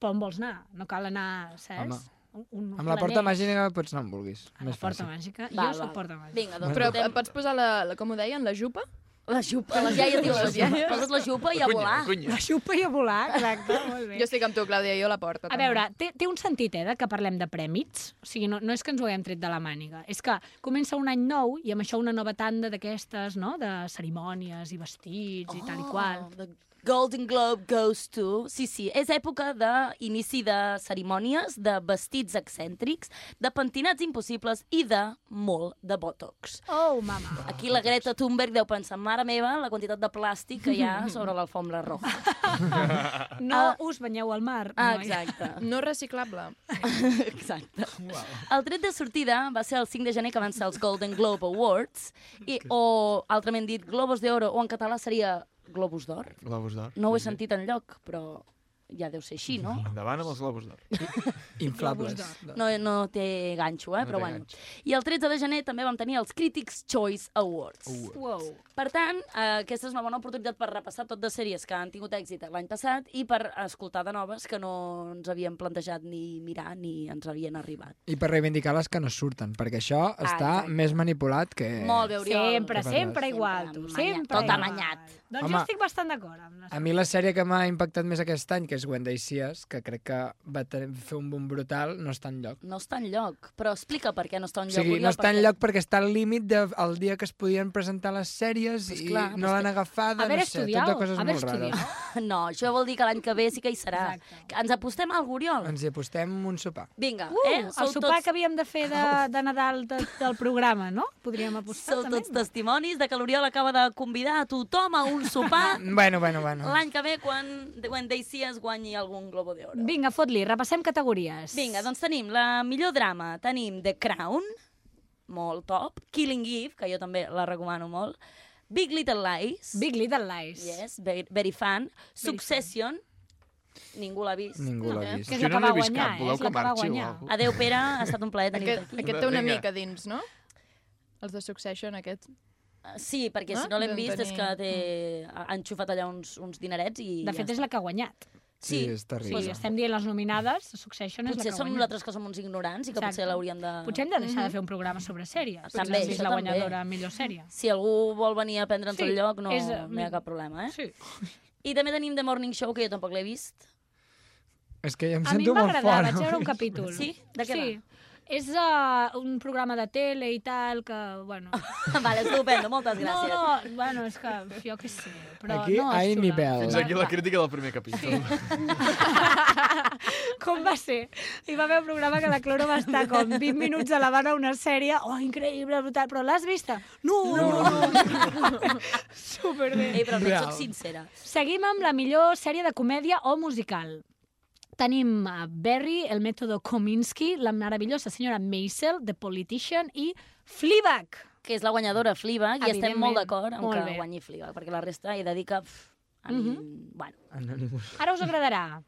S10: Però on vols anar? No cal anar, saps?
S8: Home.
S10: Un, un
S8: Amb la porta màgica pots anar on vulguis. Més
S10: porta
S8: fàcil.
S10: màgica.
S12: Va,
S10: jo
S12: va.
S10: sóc porta màgica.
S7: Vinga,
S9: Ah,
S7: doncs
S12: Però
S7: fotem-
S12: em pots posar, la, la, com ho deien, la jupa?
S7: La jupa, les iaies diuen la jupa. Poses la jupa i a volar.
S10: La xupa i a volar, exacte. Molt bé.
S12: Jo estic amb tu, Clàudia, jo a la porta.
S10: A veure, té, té un sentit, eh, de que parlem de prèmits. O sigui, no, no és que ens ho haguem tret de la màniga. És que comença un any nou i amb això una nova tanda d'aquestes, no?, de cerimònies i vestits i tal
S7: Oh.
S10: i qual.
S7: The Golden Globe goes to... Sí, sí, és època d'inici de cerimònies, de vestits excèntrics, de pentinats impossibles i de molt de botox.
S10: Oh, mama.
S7: Aquí la Greta Thunberg deu pensar, mare meva, la quantitat de plàstic que hi ha sobre l'alfombra roja.
S10: No
S7: Ah.
S10: us banyeu al mar.
S7: Ah,
S10: noi.
S7: exacte.
S12: No reciclable.
S7: Exacte. El tret de sortida va ser el 5 de gener que van ser els Golden Globe Awards, i, o altrament dit Globos d'Oro, o en català seria Globus d'Or.
S14: Globus d'or.
S7: No ho he sentit en lloc, però ja deu ser així, no?
S14: Endavant amb els globus d'or.
S8: Inflables.
S7: No, no té ganxo, eh?
S14: No
S7: però
S14: té
S7: bueno.
S14: ganxo.
S7: I el 13 de gener també vam tenir els Critics Choice Awards.
S10: Wow.
S7: Per tant, eh, aquesta és una bona oportunitat per repassar tot de sèries que han tingut èxit l'any passat i per escoltar de noves que no ens havíem plantejat ni mirar ni ens havien arribat.
S8: I per reivindicar les que no surten, perquè això està
S7: exacte.
S8: més manipulat que...
S7: Molt bé, Oriol.
S10: Sempre,
S8: Què
S10: sempre
S8: parles?
S10: igual, tu.
S7: Sempre amanyat,
S10: Sempre
S7: tot
S10: igual.
S7: amanyat.
S10: Doncs
S8: Home.
S10: jo estic bastant d'acord. amb les-
S8: A mi la sèrie que m'ha impactat més aquest any, que és Wendy Sears, que crec que va tenir, fer un boom brutal, no està enlloc.
S7: No està en lloc, però explica per què no està en
S8: O
S7: lloc.
S8: sigui,
S7: Oriol,
S8: no està
S7: perquè-
S8: enlloc perquè està al límit del dia que es podien presentar les sèries
S7: Pues
S8: i
S7: clar,
S8: no
S7: pues
S8: l'han agafada,
S7: haver
S8: no sé, tot de
S7: estudiat,
S8: coses
S7: haver
S8: molt rares.
S7: No, això vol dir que l'any que ve sí que hi serà. Que Ens apostem al Goriol.
S8: Ens hi apostem un sopar.
S7: Vinga,
S10: Uh,
S7: eh?
S10: el sopar que havíem de fer de, de Nadal de, del programa, no? Podríem apostar,
S7: Sou
S10: també.
S7: tots testimonis de que l'Oriol acaba de convidar a tothom a un sopar
S8: Bueno, bueno, bueno.
S7: l'any que ve quan When They See Us guanyi algun Globo d'Oro.
S10: Vinga, fot-li, repassem categories.
S7: Vinga, doncs tenim la millor drama. Tenim The Crown, molt top. Killing Eve, que jo també la recomano molt. Big Little Lies.
S10: Big Little Lies.
S7: Yes, very, very fan. Succession. Ningú l'ha vist.
S8: Ningú l'ha
S12: eh?
S8: vist.
S12: Que és Jo la no que n'he va vist guanyar, cap, eh? voleu És la que que va marxi o guanyar. alguna cosa?
S7: Adéu, Pere, ha estat un plaer tenir
S12: Aquest,
S7: aquí.
S12: aquest té una
S7: Vinga.
S12: mica dins, no? Els de Succession, aquest.
S7: Sí, perquè
S12: Ah,
S7: si no l'hem
S12: doncs
S7: vist és
S12: tenim.
S7: que té... ha enxufat allà uns, uns dinerets i
S10: De fet, és la que ha guanyat.
S7: Sí,
S8: Sí, és terrible.
S10: Sí, estem dient les nominades, Succession és
S7: Potser
S10: la que
S7: som
S10: guanya.
S7: nosaltres que som uns ignorants i que potser l'hauríem de...
S10: Potser hem de deixar de fer un programa sobre sèries. Potser
S7: També,
S10: és
S7: això
S10: la
S7: també.
S10: guanyadora a millor sèrie.
S7: Si algú vol venir a prendre'ns
S10: Sí,
S7: el lloc, no,
S10: és, eh,
S7: no hi ha cap problema, eh?
S10: Sí.
S7: I també tenim The Morning Show, que jo tampoc l'he vist.
S8: És que ja em
S10: A mi
S8: sento
S10: em va
S8: molt
S10: agradar,
S8: fora.
S10: vaig veure un capítol.
S7: Sí? De què
S10: sí. És uh, un programa de tele i tal, que, bueno...
S7: vale, estupendo, moltes Ah, gràcies.
S10: No, no, bueno, és que jo què sé, però
S8: Aquí
S10: no,
S8: hay
S10: és xula.
S8: nivel.
S14: Fins aquí la crítica del primer capítol. Sí.
S10: Com va ser? Hi va haver un programa que la Cloro va estar com 20 minuts elevant a una sèrie, oh, increïble, brutal, però l'has vista? No, no, no. Superbé.
S7: Ei, però almenys soc sincera.
S10: Seguim amb la millor sèrie de comèdia o musical. Tenim eh, Barry, El mètode Kominsky, La meravellosa senyora Maisel, The Politician i Fleabag.
S7: Que és la guanyadora Fleabag i estem
S10: Evidentment.
S7: molt d'acord amb
S10: Molt
S7: que
S10: bé. Mhm.
S7: guanyi Fleabag, perquè la resta he de dir que... Pff, a mi, bueno.
S8: Anonymous.
S10: Ara us agradarà.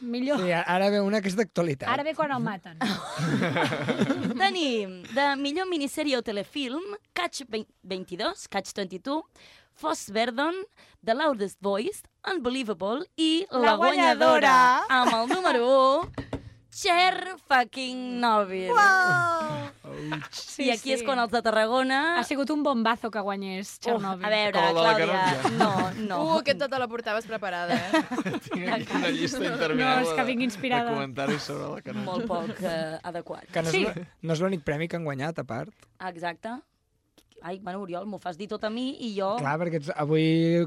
S10: Millor.
S8: Sí, ara ve una que és d'actualitat.
S10: Ara ve quan el maten.
S7: Tenim de millor minissèrie o telefilm Catch 20 22, Catch 22, Foss Verdon, The Loudest Voice, Unbelievable i la,
S10: La
S7: guanyadora.
S10: guanyadora.
S7: amb el número 1, Cher fucking Novir. I aquí és quan els de Tarragona... Oh,
S10: Ha sigut un bombazo que guanyés Txernòbil.
S7: a veure, Com el de la Clàudia, Canonja. no, no.
S12: Uh, aquesta te la portaves preparada, eh?
S14: Tinc aquí una llista
S10: No,
S14: interminable
S10: és que vinc
S14: de-
S10: inspirada.
S14: de comentaris sobre la canalla.
S7: Molt poc eh, adequat.
S8: Que no és, sí. no és l'únic premi que han guanyat, a part.
S7: Exacte. Ai, bueno, Oriol, m'ho fas dir tot a mi i jo...
S10: Oh.
S8: Clar, perquè ets, avui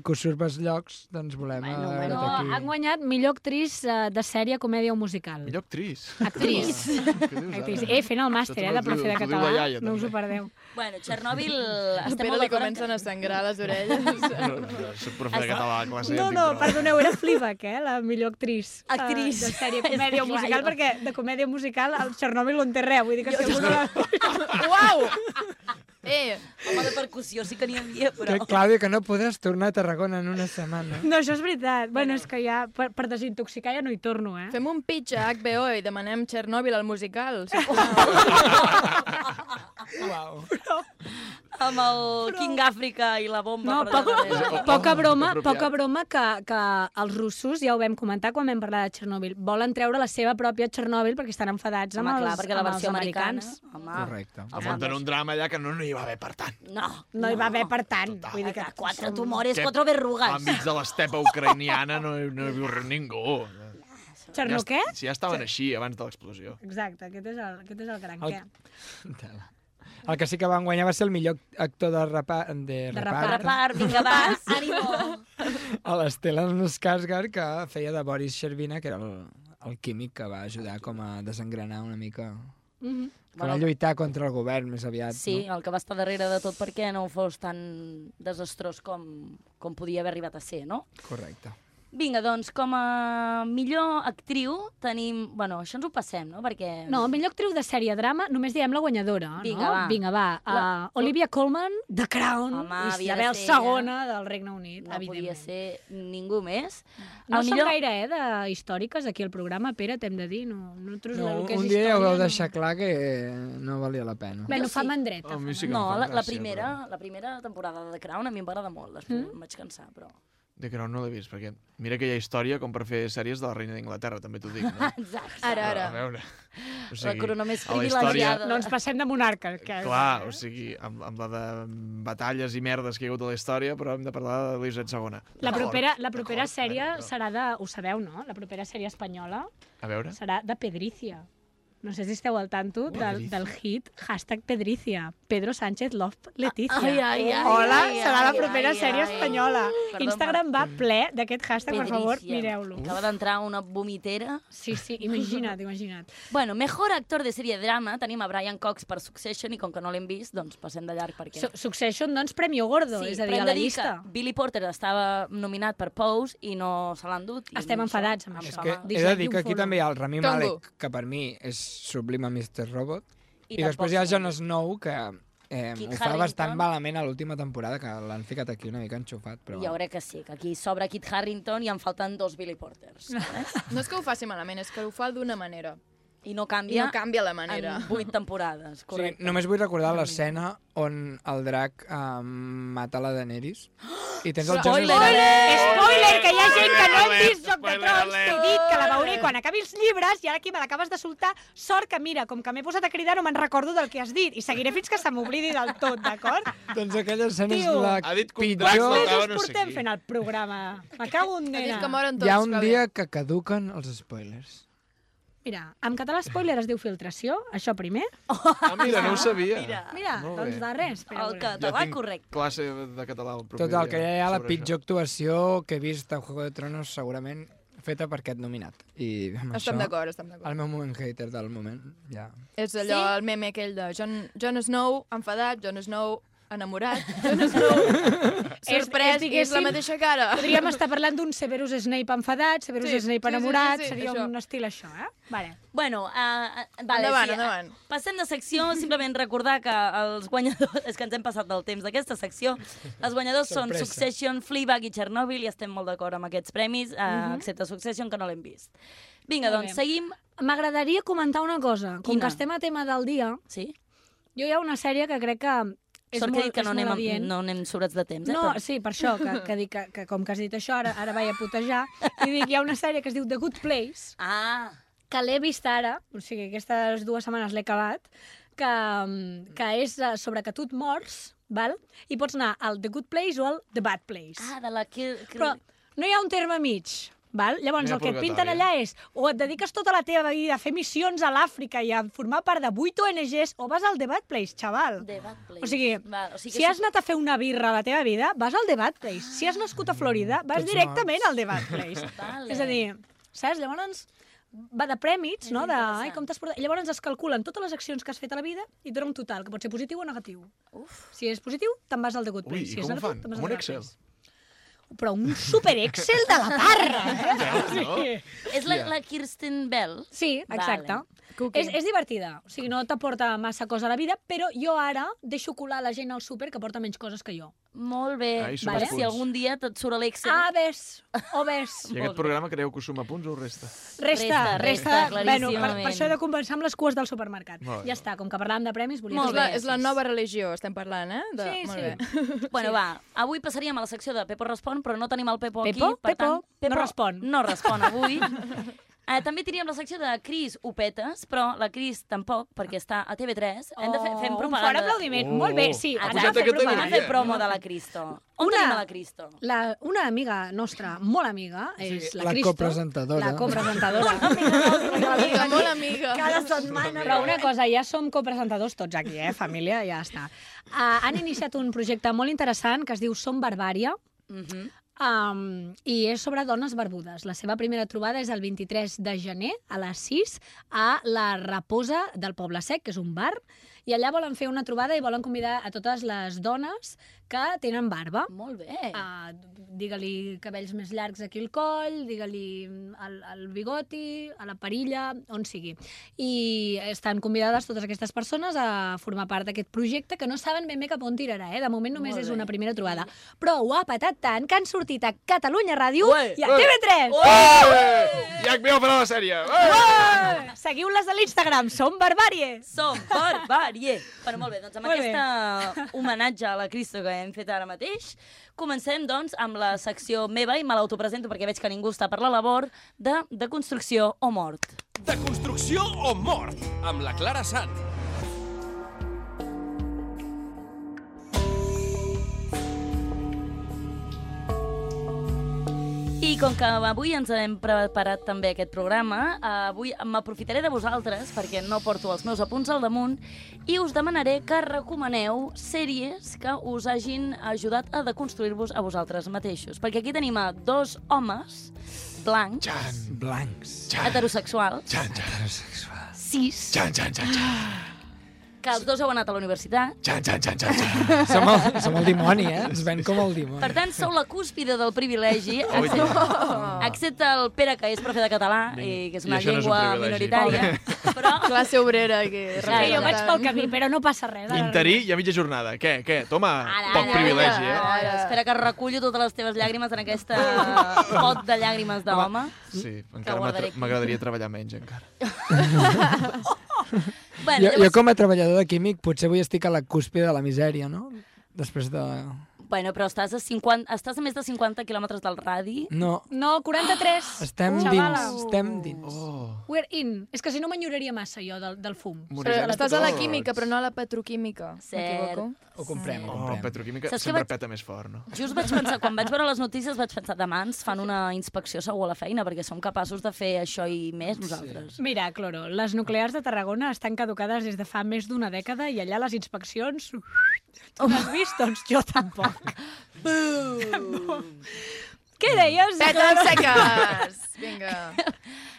S8: que us surpes llocs, doncs volem bueno,
S10: No,
S8: bueno.
S10: han
S8: aquí.
S10: guanyat millor actriz eh, de sèrie, comèdia o musical.
S14: Millor actriz.
S10: Actriz. actriz. Eh, fent el màster, eh, de profe de català. no us ho perdeu.
S7: Bueno, Txernòbil...
S12: Al
S7: Estem
S12: Pere
S7: molt
S12: li
S7: d'acord en
S12: comencen a sangrar les orelles.
S14: Soc profe de català a classe.
S10: No,
S14: em dic
S10: no,
S14: brava.
S10: perdoneu, era Fleabag, eh, la millor actriz. eh,
S7: Actriz.
S10: de sèrie,
S7: És
S10: comèdia o
S7: que,
S10: musical,
S7: guai.
S10: perquè de comèdia musical el Txernòbil l'on té res, vull dir que
S7: Jo-
S10: segur que...
S12: Uau! Eh,
S7: Home, de percussió sí que n'hi havia, però...
S8: Que, Clàudia, que no podràs tornar a Tarragona en una setmana.
S10: No, això és veritat. Bueno, és que ja, per, per desintoxicar ja no hi torno, eh?
S12: fem un pitch a HBO i demanem Txernòbil al musical.
S8: Uau.
S7: Amb el King Africa i la
S10: No,
S7: bomba. per
S10: poca,
S7: darrere.
S10: poca broma, poca broma que, que els russos, ja ho vam comentar quan vam parlar de Txernòbil, volen treure la seva pròpia Txernòbil perquè estan enfadats
S7: Home,
S10: amb els,
S7: clar, perquè la
S10: amb
S7: versió
S10: els
S7: americana...
S10: americans.
S7: Home,
S8: Correcte.
S14: Em munten un drama allà que no, no hi va haver, per tant.
S7: No,
S10: No hi va haver, per tant. Vull dir que...
S7: quatre tumores,
S14: Que
S7: quatre verrugues.
S14: Enmig de l'estepa ucraïniana no, hi- no hi viu res ningú.
S10: Txernò què?
S14: Si ja estaven així abans de l'explosió.
S10: Exacte, aquest és el, aquest és el gran
S8: El-
S10: què.
S8: Tela. El que sí que van guanyar va ser el millor actor de, repa, de,
S10: De
S8: repart,
S7: Repart, vinga, vas, ànimo.
S8: a l'Estelan Skarsgård, que feia de Boris Shervina, que era el, el químic que va ajudar com a desengranar una mica...
S7: Mhm.
S8: Que va lluitar contra el govern més aviat,
S7: Sí,
S8: no?
S7: el que va estar darrere de tot perquè no fos tan desastrós com, com podia haver arribat a ser, no?
S8: Correcte.
S7: Vinga, doncs, com a millor actriu tenim... Bueno, això ens ho passem, no? Perquè...
S10: No, millor actriu de sèrie drama, només diem la guanyadora,
S7: Vinga,
S10: no?
S7: va.
S10: Vinga, va.
S7: La-
S10: Uh, Olivia Colman, The Crown,
S7: Home,
S10: Home,
S7: havia de
S10: Isabel
S7: ser ella.
S10: segona del Regne Unit,
S7: no podia
S10: evidentment.
S7: ser ningú més.
S10: No
S7: El
S10: som
S7: millor-
S10: gaire, eh, de històriques aquí al programa, Pere, t'hem de dir. No, nosaltres
S8: No,
S10: el que és
S8: un dia ja ho
S10: història,
S8: vau
S10: no.
S8: deixar clar que no valia la pena.
S10: Bé, no
S7: Jo
S10: fa
S7: sí.
S10: mandreta.
S14: A mi sí que
S7: no,
S14: em fa
S7: la, la,
S14: gràcia,
S7: primera, la primera temporada de The Crown a mi em va agradar molt, després mm? em vaig cansar, però...
S14: però De Crown no l'he vist, perquè mira que hi ha història com per fer sèries de la reina d'Inglaterra, també t'ho dic. No?
S7: Exacte.
S12: Ara,
S14: A
S12: ara.
S14: veure... O
S7: La corona més
S14: a la història,
S7: privilegiada.
S10: No ens passem de monarca. Que...
S14: Clar, o sigui, amb, amb la de batalles i merdes que hi ha hagut a la història, però hem de parlar de l'Elisabet II.
S10: La
S14: D'acord.
S10: propera, la propera sèrie serà de... Ho sabeu, no? La propera sèrie espanyola
S14: A
S8: Eh?
S14: veure...
S10: serà de Pedricia. No sé si esteu al tanto del,
S14: Pedricia.
S10: del hit hashtag Pedricia. Pedro Sánchez love Leticia.
S7: Ai, ai, ai,
S10: Hola,
S7: ai,
S10: serà la
S7: ai,
S10: propera
S7: ai,
S10: sèrie
S7: ai.
S10: espanyola.
S7: Perdó,
S10: Instagram va ple d'aquest hashtag, per favor,
S7: Pedricia.
S10: mireu-lo.
S7: Acaba d'entrar una vomitera.
S10: Sí, sí, imagina't, imagina't.
S7: Bueno, mejor actor de sèrie drama tenim a Brian Cox per Succession i com que no l'hem vist, doncs passem de llarg perquè...
S10: Su- Succession, doncs, Premio Gordo, és a dir,
S7: però hem
S10: a
S7: de
S10: la
S7: dir
S10: llista.
S7: que Billy Porter estava nominat per Pose i no se l'han dut. i
S10: Estem
S7: em
S10: enfadats
S7: sap-
S10: amb
S7: em
S10: això.
S7: fa
S8: Que
S7: mal.
S8: he de dir que aquí també hi ha el Rami
S12: Tongo.
S8: Malek, que per mi és sublim a Mr. Robot.
S7: I
S8: I, després
S7: tampoc
S8: hi ha
S7: sé.
S8: Jon Snow, que eh,
S7: Kit
S8: ho fa
S7: Harington.
S8: bastant malament a l'última temporada, que l'han ficat aquí una mica enxufat. Però...
S7: Jo crec que sí, que aquí s'obre Kit Harrington i en falten dos Billy Porters.
S12: No és que ho faci malament, és que ho fa d'una manera.
S7: I no
S12: I
S7: canvia,
S12: no canvia la manera.
S7: En vuit temporades,
S8: Sí,
S7: correcte.
S8: només vull recordar l'escena on el drac um, mata la Daenerys. I tens el Jones...
S10: Spoiler! Spoiler, que hi ha gent que no hem
S8: Spoiler
S10: vist Joc de Trons. T'he dit que la veuré quan acabi els llibres i ara aquí me l'acabes de soltar. Sort que, mira, com que m'he posat a cridar no me'n recordo del que has dit i seguiré fins que se m'oblidi del tot, d'acord?
S8: Doncs aquella escena és
S10: Tio,
S8: la
S14: Ha dit que un
S8: pitjor.
S14: drac matava
S10: mesos
S14: no sé
S10: portem
S14: qui.
S10: fent el programa. Me cago en nena.
S8: Hi ha un
S12: Doncs
S8: dia que caduquen els spoilers.
S10: Mira, en català spoiler es diu filtració, això primer.
S14: Ah, mira, no ho sabia.
S10: Mira,
S7: Ah,
S10: mira
S14: Molt bé.
S10: doncs de res.
S7: El
S14: Jo
S7: català
S14: tinc
S7: correcte.
S14: classe de català el proper
S8: Total, que
S14: dia
S8: ja hi ha la
S14: sobre
S8: pitjor actuació que he vist a Juego de Tronos, segurament feta per aquest nominat. I amb
S12: Estem
S8: això,
S12: d'acord, estem d'acord.
S8: El meu moment hater del moment, ja.
S12: És allò, sí? el meme aquell de Jon, Jon Snow, enfadat, Jon Snow, enamorat, Jon Snow, sorprès, i és la
S10: diguéssim,
S12: mateixa cara.
S10: Podríem estar parlant d'un Severus Snape enfadat, Severus
S12: Sí,
S10: sí, Snape
S12: sí, sí,
S10: enamorat,
S12: sí, sí,
S10: sí, sí, sí, seria
S12: això.
S10: un estil això, eh? Vale.
S7: Bueno, uh, vale,
S12: Endavant,
S7: sí, eh,
S12: endavant.
S7: Passem de secció, simplement recordar que els guanyadors... És que ens hem passat del temps d'aquesta secció. Els guanyadors són
S10: Sorpresa.
S7: Succession, Fleabag i Chernobyl, i estem molt d'acord amb aquests premis, uh,
S10: Mhm.
S7: excepte Succession, que no l'hem vist. Vinga,
S10: Molt
S7: doncs,
S10: bé.
S7: seguim.
S10: M'agradaria comentar una cosa. Com
S7: Quina?
S10: que estem a tema del dia,
S7: sí?
S10: jo hi ha una sèrie que crec que és
S7: Sort que he
S10: molt,
S7: dit que no
S10: és
S7: anem,
S10: molt
S7: amb,
S10: adient.
S7: no anem sobrats de temps, eh?
S10: No,
S7: però-
S10: sí, per això, que, que, dic que, que com que has dit això, ara, ara vaig a putejar, i dic, hi ha una sèrie que es diu The Good Place,
S7: ah.
S10: que l'he vist ara, o sigui, aquestes dues setmanes l'he acabat, que, mm, que és eh, sobre que tu et mors, val? i pots anar al The Good Place o al The Bad Place.
S7: Ah, de la que... que...
S10: Però no hi ha un terme mig, val? Llavors,
S7: No hi ha
S10: el que et
S7: purgatori.
S10: pinten allà és o et dediques tota la teva vida a fer missions a l'Àfrica i a formar part de 8 ONGs o vas al The Bad Place, xaval.
S7: The Bad Place.
S10: O sigui,
S7: Val, o sigui
S10: si
S7: que
S10: has anat a fer una birra a la teva vida, vas al Debat Place. Si has nascut a Florida, vas
S7: Tots
S10: directament al Debat Place.
S7: Vale.
S10: És a dir, saps? Llavors, va de prèmits, no? De, ai, com t'has portat... Llavors es calculen totes les accions que has fet a la vida i et dona un total, que pot ser positiu o negatiu.
S7: Uf.
S10: Si és positiu, te'n vas al The Good
S14: Ui,
S10: Place.
S14: i
S10: si és
S14: com ho
S10: negatiu,
S14: fan?
S10: te'n vas
S14: Com
S10: al
S14: un
S10: The Bad
S14: Excel?
S10: Place. Però un super Excel de la parra, eh?
S14: Ja, no?
S7: És la,
S14: Ja.
S7: la Kirsten Bell?
S10: Sí, exacte.
S7: Vale.
S10: És, és divertida, o sigui, no t'aporta massa cosa a la vida, però jo ara deixo colar la gent al súper que porta menys coses que jo.
S7: Molt bé.
S14: Ai, suma
S7: vale.
S14: punts.
S7: Si algun dia te't surt a l'Excel...
S10: A, ves, o ves.
S14: I aquest programa creieu que suma punts o resta?
S10: Resta, resta,
S7: Resta,
S10: resta bueno, per,
S7: claríssimament.
S10: per això he de compensar amb les cues del supermercat.
S14: Molt bé.
S10: Ja està, com que parlàvem de premis, volia...
S12: Molt
S10: fer
S12: bé,
S10: aquests.
S12: és la nova religió, estem parlant, eh? De...
S10: Sí,
S12: Molt
S10: sí.
S12: bé.
S7: Bueno, va, avui passaríem a la secció de Pepo respon, però no tenim el Pepo,
S10: Pepo?
S7: aquí. Per
S10: Pepo?
S7: tant,
S10: No respon.
S7: No respon avui. Uh, també teníem la secció de Cris Opetes, però la Cris tampoc, perquè està a TV3. Hem de fer,
S10: Oh, un
S7: fem propaganda.
S10: fort aplaudiment. Molt bé, sí,
S7: Ara
S10: ha pujat
S7: hem
S10: de
S7: de fer propaganda.
S10: categoria.
S7: Hem de fer promo de la Cristo. On
S10: Una-
S7: tenim a la Cristo?
S10: La, una amiga nostra, molt amiga, és la,
S8: la
S10: Cristo.
S8: copresentadora.
S10: La copresentadora.
S12: Amiga, molt amiga.
S10: Cada setmana. Però una cosa, ja som copresentadors tots aquí, eh, família, ja està. Uh, han iniciat un projecte molt interessant que es diu Som Barbària,
S7: Mm -hmm.
S10: Um, I és sobre dones barbudes. La seva primera trobada és el 23 de gener a les 6 a la Raposa del Poble Sec, que és un bar, i allà volen fer una trobada i volen convidar a totes les dones que tenen barba.
S7: Molt bé.
S10: Uh, digue-li cabells més llargs aquí al coll, digue-li al, al bigoti, a la perilla, on sigui. I estan convidades totes aquestes persones a formar part d'aquest projecte que no saben ben bé cap on tirarà, eh? De moment només
S7: Molt
S10: és
S7: bé.
S10: una primera trobada. Però ho ha patat tant que han sortit a Catalunya Ràdio
S14: Ué,
S10: i a
S14: ué.
S10: TV3!
S14: Ué! HBO farà la sèrie!
S10: Ué! Seguiu-les a l'Instagram, som barbàries!
S7: Som barbàrie! Però molt bé, doncs amb
S10: Molt
S7: aquest
S10: bé.
S7: homenatge a la Cristo que hem fet ara mateix, comencem doncs amb la secció meva, i me l'autopresento perquè veig que ningú està per la labor, de, de construcció o mort.
S11: De construcció o mort, amb la Clara Sant.
S7: I com que avui ens hem preparat també aquest programa, eh, avui m'aprofitaré de vosaltres, perquè no porto els meus apunts al damunt, i us demanaré que recomaneu sèries que us hagin ajudat a deconstruir-vos a vosaltres mateixos. Perquè aquí tenim a dos homes blancs,
S8: Blancs.
S7: heterosexuals,
S8: Heterosexuals.
S7: cis,
S8: Xan, xan, xan, xan.
S7: que els dos heu anat a la universitat.
S14: Xan, xan, xan, xan, xan.
S8: Som el, som el dimoni, eh? Ens ven com el dimoni.
S7: Per tant, sou la cúspide del privilegi,
S8: Oh,
S7: excepte, excepte el Pere, que és profe de català i que és
S12: I
S7: una
S12: això no és un
S7: llengua
S12: privilegi.
S7: minoritària. Però...
S12: Classe obrera. Que...
S7: Clar, jo vaig pel
S10: camí, però no passa res.
S14: Interí i a mitja jornada. Què, què? Toma,
S7: Ara,
S14: poc
S7: ara,
S14: privilegi, eh?
S7: ara, ara. Espera que recullo totes les teves llàgrimes en aquesta pot de llàgrimes d'home.
S14: Sí, encara
S7: guardaré
S14: m'atra-
S7: aquí.
S14: m'agradaria treballar menys, encara.
S7: Bueno,
S8: jo, jo
S7: llavors-
S8: com a treballador de químic potser avui estic a la cúspide de la misèria, no? Després de...
S7: Bueno, però estàs a, 50, estàs a més de 50 quilòmetres del radi.
S8: No,
S10: No, 43.
S8: estem
S10: Uh,
S8: dins,
S10: xavala.
S8: estem dins. Oh.
S10: We're in. És que si no m'enyoraria massa jo del, del fum.
S12: Però estàs a la química, però no a la petroquímica. M'equivoco?
S8: Ho comprem, ho
S14: Oh,
S8: comprem.
S14: petroquímica
S7: Saps què
S14: sempre
S7: vaig-
S14: peta més fort, no?
S7: Just vaig pensar, quan vaig veure les notícies, vaig pensar, demà ens fan una inspecció segur a la feina, perquè som capaços de fer això i més nosaltres.
S10: Mira, Cloro, les nuclears de Tarragona estan caducades des de fa més d'una dècada i allà les inspeccions... Tu n'has vist? Doncs jo tampoc. Què deies?
S12: Peten
S10: Cloro?
S12: seques! Vinga.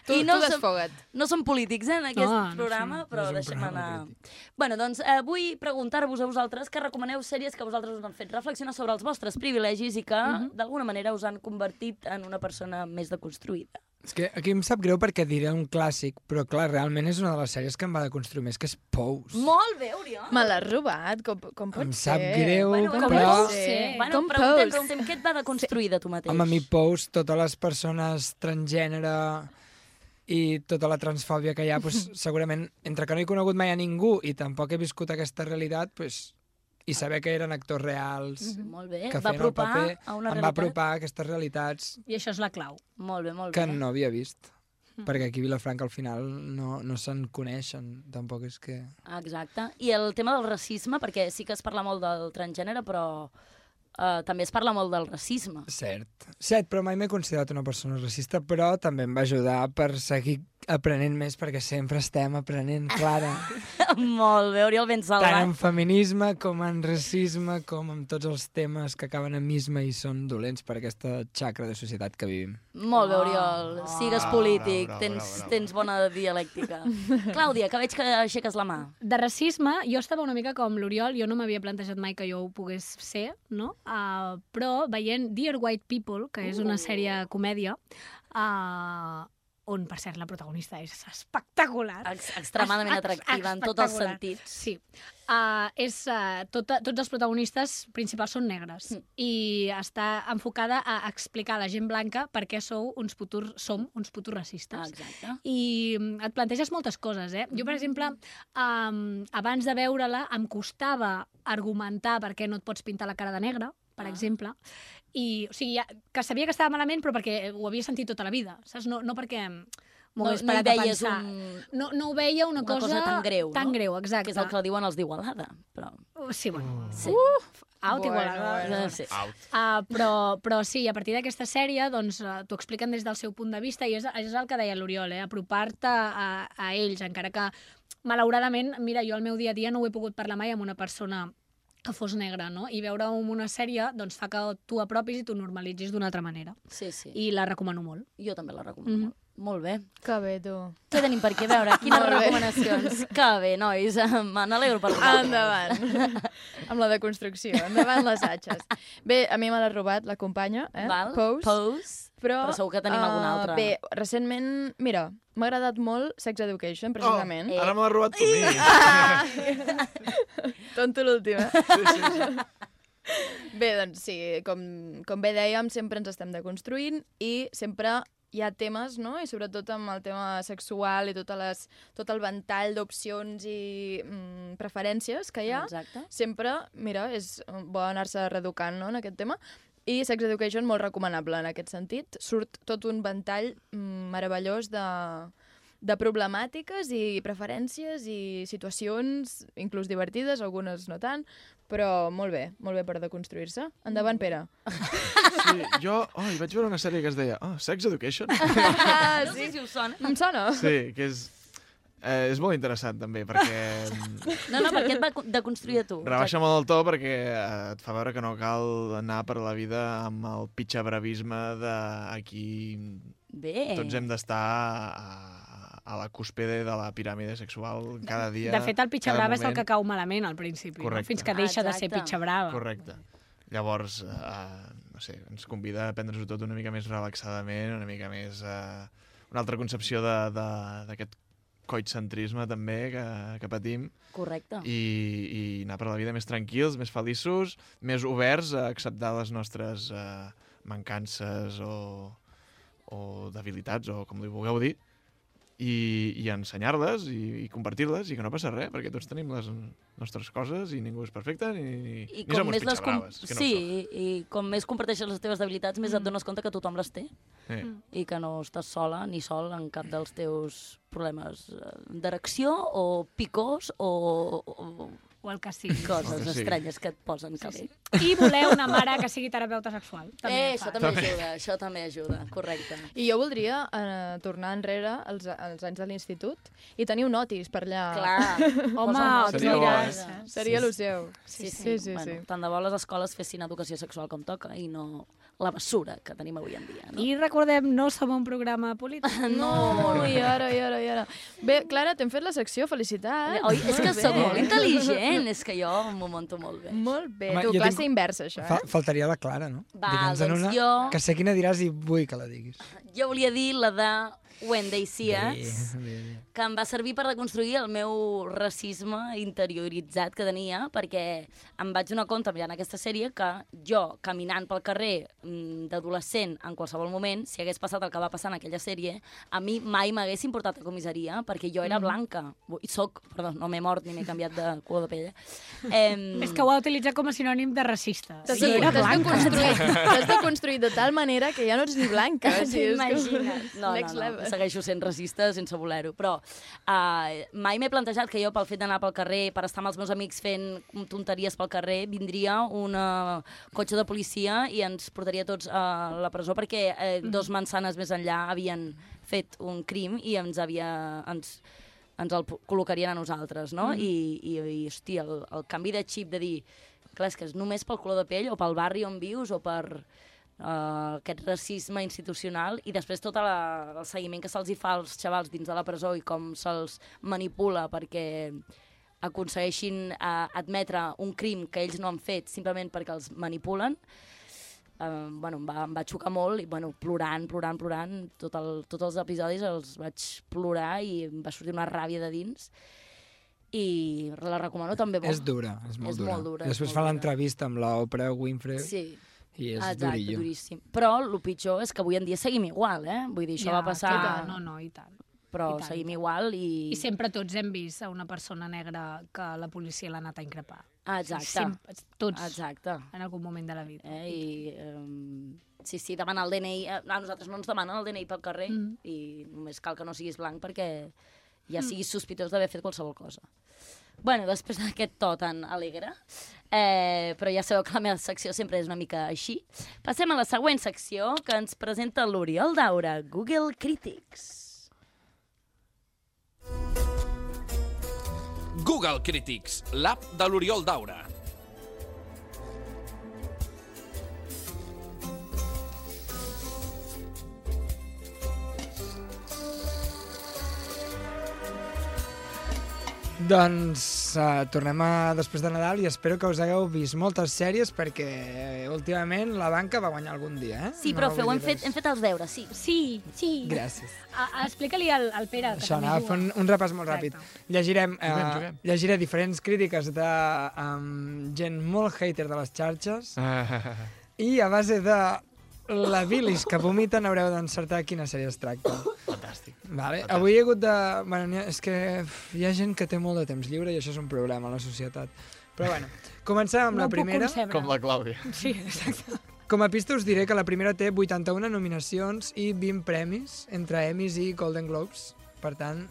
S12: Tu,
S7: I
S12: no tu
S7: som-
S12: desfoga't.
S7: No som polítics, eh, en aquest
S12: No, no
S7: programa,
S12: som-
S7: però
S12: no és un
S7: deixem
S12: programa
S7: anar. Bueno, doncs eh, vull preguntar-vos a vosaltres que recomaneu sèries que vosaltres us han fet reflexionar sobre els vostres privilegis i que,
S12: Mhm.
S7: d'alguna manera, us han convertit en una persona més deconstruïda.
S8: És que aquí em sap greu perquè diré un clàssic, però clar, realment és una de les sèries que em va deconstruir més, que és Pous.
S7: Molt bé, Oriol.
S12: Me l'has robat, com, com pot
S8: Em
S12: ser?
S8: sap greu,
S12: bueno,
S8: com
S12: com
S8: però-
S12: pot
S8: pot
S12: ser?
S7: Bueno,
S12: com
S7: preguntem,
S12: pots?
S7: preguntem què et va deconstruir de tu mateix.
S8: Home, a mi Pous, totes les persones transgènere i tota la transfòbia que hi ha, doncs, segurament, entre que no he conegut mai a ningú i tampoc he viscut aquesta realitat, doncs, i saber que eren actors reals,
S7: Molt bé,
S8: que
S7: Mhm. va
S8: feien el
S7: apropar
S8: paper,
S7: a una
S8: em va
S7: realitat.
S8: apropar a aquestes realitats
S10: I això és la clau.
S7: Molt bé, molt
S8: que
S7: bé.
S8: no havia vist.
S7: Mhm.
S8: Perquè aquí a Vilafranca al final no, no se'n coneixen, tampoc és que...
S7: Exacte. I el tema del racisme, perquè sí que es parla molt del transgènere, però eh, també es parla molt del racisme.
S8: Cert. Cert, però mai m'he considerat una persona racista, però també em va ajudar per seguir aprenent més, perquè sempre estem aprenent, Clara.
S7: molt bé, Oriol, ben
S8: Tant
S7: salvat.
S8: en feminisme com en racisme, com en tots els temes que acaben en misme i són dolents per aquesta xacra de societat que vivim.
S7: Molt bé, Oriol. Sigues polític,
S8: bravo, bravo,
S7: tens,
S8: bravo.
S7: tens bona dialèctica. Clàudia, que veig que aixeques la mà.
S10: De racisme, jo estava una mica com l'Oriol, jo no m'havia plantejat mai que jo ho pogués ser, no? Uh, però veient Dear White People, que és una sèrie comèdia, uh, on, per cert, la protagonista és espectacular.
S7: Ex extremadament
S10: Ex- ex-
S7: atractiva en tots els
S10: espectacular.
S7: sentits.
S10: Sí. Uh, és, uh, tota, tots els protagonistes principals són negres mm. i està enfocada a explicar a la gent blanca per què sou uns futurs, som uns futurs racistes.
S7: Ah, Exacte. Mm.
S10: I mm, et planteges moltes coses, eh? Jo, per exemple, um, abans de veure-la em costava argumentar per què no et pots pintar la cara de negre, per
S7: Ah.
S10: exemple, i, o sigui, ja- que sabia que estava malament, però perquè ho havia sentit tota la vida, saps? No, no perquè m'ho
S7: No-
S10: hagués
S7: no hi
S10: parat a
S7: veies
S10: pensar.
S7: un-
S10: No, no ho veia una,
S7: Una cosa tan greu,
S10: Tan
S7: no?
S10: greu, exacte. Oh,
S7: Que és el que diuen els d'Igualada. Però...
S10: Sí, bueno.
S7: Sí.
S10: Uh, out
S7: Bueno,
S10: Igualada.
S7: bueno. Sí. Out.
S10: Uh, però, però sí, a partir d'aquesta sèrie doncs, eh, t'ho expliquen des del seu punt de vista i és, és el que deia l'Oriol, eh? apropar-te a, a ells, encara que malauradament, mira, jo al meu dia a dia no ho he pogut parlar mai amb una persona que fos negra, no? I veure-ho en una sèrie doncs, fa que tu apropis i t'ho normalitzis d'una altra manera.
S7: Sí, sí.
S10: I la recomano molt.
S7: Jo també la recomano.
S10: Mm
S7: -hmm. Molt bé.
S12: Que bé, tu.
S7: Què tenim per aquí? A veure, quines
S12: Molt bé.
S7: recomanacions? Que bé, nois, me n'alegro per vosaltres.
S12: Endavant. Amb la deconstrucció. Endavant les atxes. Bé, a mi me l'ha robat la companya, eh?
S7: Val,
S12: Pous.
S7: Pous.
S12: Però,
S7: Però segur que tenim
S12: eh,
S7: alguna altra.
S12: Bé, recentment, mira, m'ha agradat molt Sex Education, precisament.
S7: Eh.
S14: Ara me l'ha robat tu a mi. Ah,
S12: Tonto l'última. Sí, sí, sí. Bé, doncs sí, com, com bé dèiem, sempre ens estem deconstruint i sempre hi ha temes, no? I sobretot amb el tema sexual i totes les, tot el ventall d'opcions i mm, preferències que hi ha.
S7: Exacte.
S12: Sempre, mira, és bo anar-se reeducant no, en aquest tema. I Sex Education molt recomanable en aquest sentit. Surt tot un ventall mm, meravellós de, de problemàtiques i preferències i situacions, inclús divertides, algunes no tant, però molt bé, molt bé per deconstruir-se. Endavant, Pere.
S14: Sí, jo... Oh, hi vaig veure una sèrie que es deia... Oh, Sex Education?
S12: Ah,
S7: no sé si us sona.
S12: Em sona?
S14: Sí, que és... Eh, és molt interessant, també, perquè...
S7: No, no, perquè et va deconstruir a tu.
S14: Rebaixa molt el to perquè eh, et fa veure que no cal anar per la vida amb el pitxabravisme de aquí...
S7: Bé.
S14: Tots hem d'estar a, a la cúspide de la piràmide sexual cada dia.
S10: De fet, el pitxa
S14: cada
S10: brava és el
S14: moment.
S10: que cau malament al principi, no?
S14: Correcte.
S10: fins que deixa de ser pitxa brava.
S14: Correcte. Llavors, eh, no sé, ens convida a prendre-s'ho tot una mica més relaxadament, una mica més... Eh, una altra concepció de- de- d'aquest coitcentrisme també que, que patim
S7: Correcte.
S14: i, i anar per la vida més tranquils, més feliços, més oberts a acceptar les nostres eh, mancances o, o debilitats o com li vulgueu dir i, i ensenyar-les i, i compartir-les i que no passa res perquè tots tenim les nostres coses i ningú és perfecte ni, ni,
S7: I
S14: ni som uns
S7: com...
S14: pitxabraves, que no
S7: sí, i i com més comparteixes les teves debilitats, més et dones compte que tothom les té.
S14: Sí.
S7: I que no estàs sola ni sol en cap dels teus problemes eh, d'erecció o picors o... o
S10: o el que sigui.
S7: Coses
S10: El que sigui.
S7: estranyes que et posen que bé.
S10: I voler una mare que sigui terapeuta sexual. També
S7: eh,
S10: fa.
S7: això també, ajuda, això també ajuda, correcte.
S12: I jo voldria eh, tornar enrere als, als anys de l'institut i tenir un otis per allà.
S7: Clar.
S12: Home,
S14: Seria bo, eh?
S12: Seria lo seu.
S7: Sí, sí. sí, sí, bueno, sí. Tant de bo les escoles fessin educació sexual com toca i no la bessura que tenim avui en dia. No?
S10: I recordem, no som un programa polític.
S12: No, i ara, i ara, i ara. Bé, Clara, t'hem fet la secció, felicitats.
S7: Oi, és que
S12: Molt bé.
S7: sóc molt intel·ligent, és que jo m'ho monto molt bé.
S12: Molt bé,
S8: Home,
S12: tu,
S8: jo tinc-
S12: clase inversa, això,
S8: Fa,
S12: eh?
S8: faltaria la Clara, no?
S7: Va,
S8: Digue'ns en
S7: doncs
S8: una,
S7: jo-
S8: Que sé quina diràs i vull que la diguis.
S7: Jo volia dir la de When They See Us,
S8: Bé, bé, bé.
S7: que em va servir per reconstruir el meu racisme interioritzat que tenia, perquè em vaig donar compte mirant aquesta sèrie que jo, caminant pel carrer mm, d'adolescent en qualsevol moment, si hagués passat el que va passar en aquella sèrie, a mi mai m'haguessin portat a comissaria, perquè jo era
S10: Mhm.
S7: blanca. Ui, Soc, perdó, no m'he mort ni m'he canviat de color de pell. Eh,
S10: És que ho ha utilitzat com a sinònim de racista.
S12: T'has
S10: Sí,
S12: de,
S10: era
S12: t'has de
S10: blanca.
S12: construir, t'has de construir de tal manera que ja no ets ni blanca. O sigui, és com-
S7: T'imagines. No,
S12: Next
S7: no, no,
S12: level.
S7: segueixo sent racista sense voler-ho, però uh, mai m'he plantejat que jo pel fet d'anar pel carrer, per estar amb els meus amics fent tonteries pel carrer, vindria una cotxe de policia i ens portaria tots a la presó perquè eh, dos mansanes més enllà havien fet un crim i ens havia... Ens, ens el po- col·locarien a nosaltres, no?
S10: Mhm.
S7: I, i, i hòstia, el, el canvi de xip de dir, clar, és que és només pel color de pell o pel barri on vius o per eh, aquest racisme institucional i després tot la, el seguiment que se'ls hi fa als xavals dins de la presó i com se'ls manipula perquè aconsegueixin eh, admetre un crim que ells no han fet simplement perquè els manipulen, eh, bueno, em, va, em va xocar molt i bueno, plorant, plorant, plorant, tot el, tots els episodis els vaig plorar i em va sortir una ràbia de dins i la recomano també molt.
S8: És dura, és
S7: és
S8: molt dura.
S7: Molt dura
S8: I Després
S7: és molt
S8: fa
S7: dura.
S8: l'entrevista amb la Oprah Winfrey
S7: Sí.
S8: i és
S7: Exacte,
S8: durillo.
S7: duríssim. Però el pitjor és que avui en dia seguim igual, eh? Vull dir, això
S10: Ja,
S7: va passar...
S10: i tant, no, no, i tant.
S7: Però
S10: i tant,
S7: seguim igual i...
S10: I sempre tots hem vist a una persona negra que la policia l'ha anat a increpar.
S7: Ah, Exacte.
S10: Sempre, tots.
S7: Exacte.
S10: En algun moment de la vida.
S7: Eh? I, um, sí, sí, demana el DNI. Eh, A nosaltres no ens demanen el DNI pel carrer
S10: Mm.
S7: i només cal que no siguis blanc perquè ja siguis sospitós d'haver fet qualsevol cosa. Bueno, després d'aquest to tan alegre, eh, però ja sabeu que la meva secció sempre és una mica així, passem a la següent secció que ens presenta l'Oriol Daura, Google Critics.
S11: Google Critics, l'app de l'Oriol Daura.
S8: Doncs uh, tornem a després de Nadal i espero que us hagueu vist moltes sèries perquè eh, últimament la banca va guanyar algun dia, eh?
S7: Sí, però
S8: vull
S7: feu,
S8: dir
S7: hem fet,
S8: res.
S7: hem fet els deures, sí.
S10: Sí, sí.
S8: Gràcies.
S10: A, explica-li al, al Pere, que
S8: Això,
S10: també
S8: anava a
S10: juga.
S8: fer un, un repàs molt ràpid. Llegirem, eh,
S14: Juguem, juguem.
S8: llegiré diferents crítiques de um, gent molt hater de les xarxes
S14: Ah.
S8: i a base de la bilis que vomiten haureu d'encertar quina sèrie es tracta.
S14: Fantàstic.
S8: Vale. Avui hi ha hagut de... Bueno, n'hi ha- és que uf, hi ha gent que té molt de temps lliure i això és un problema a la societat. Però bueno, comencem amb
S10: No ho
S8: la
S10: puc
S8: primera.
S10: concebre. Com
S14: la Clàudia.
S10: Sí, exacte.
S8: Com a pista us diré que la primera té 81 nominacions i 20 premis, entre Emmys i Golden Globes. Per tant,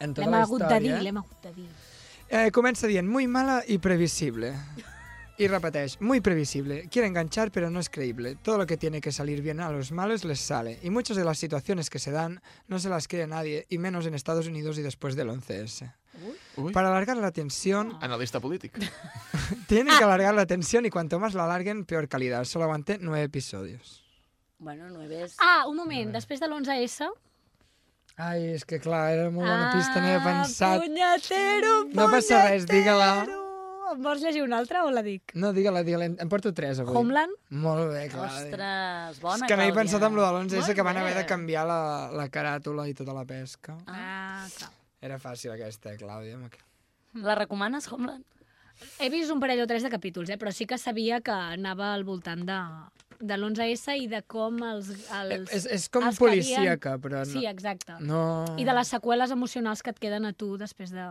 S8: en tota
S10: L'hem
S8: la
S10: hagut de dir,
S8: història...
S10: l'hem hagut de dir.
S8: Eh, comença dient, muy mala y previsible. Y repeteix, muy previsible. Quiere enganchar, pero no es creíble. Todo lo que tiene que salir bien a los malos les sale. Y muchas de las situaciones que se dan no se las cree nadie, y menos en Estados Unidos y después del 11S.
S14: Uy.
S8: Para alargar la tensión,
S14: Analista polític.
S8: tienen que alargar la tensión y cuanto más la alarguen, peor calidad. Solo aguanté nueve episodios.
S7: Bueno, no he vist...
S10: Ah, un moment, després de l'11S,
S8: Ai, és que clar, era molt
S10: Ah,
S8: bona pista, no he pensat.
S10: Punyatero, punyatero.
S8: No passa res, digue-la.
S10: Em vols llegir una altra o la dic?
S8: No, digue-la, digue-la. Em porto tres avui.
S10: Homeland?
S8: Molt bé, clar.
S7: Ostres,
S8: Ah, és
S7: bona,
S8: que no he
S7: Clàudia.
S8: pensat en lo de l'11S, que van
S7: bé.
S8: haver de canviar la, la caràtula i tota la pesca.
S10: Ah, clar.
S8: Era fàcil aquesta, eh, Clàudia. amb aquest-
S7: La recomanes, Homeland?
S10: He vist un parell o tres de capítols, eh? però sí que sabia que anava al voltant de, de l'11S i de com els... els
S8: Eh, És, és com
S10: els que havien-
S8: policíaca, però no...
S10: Sí, exacte.
S8: No...
S10: I de les seqüeles emocionals que et queden a tu després de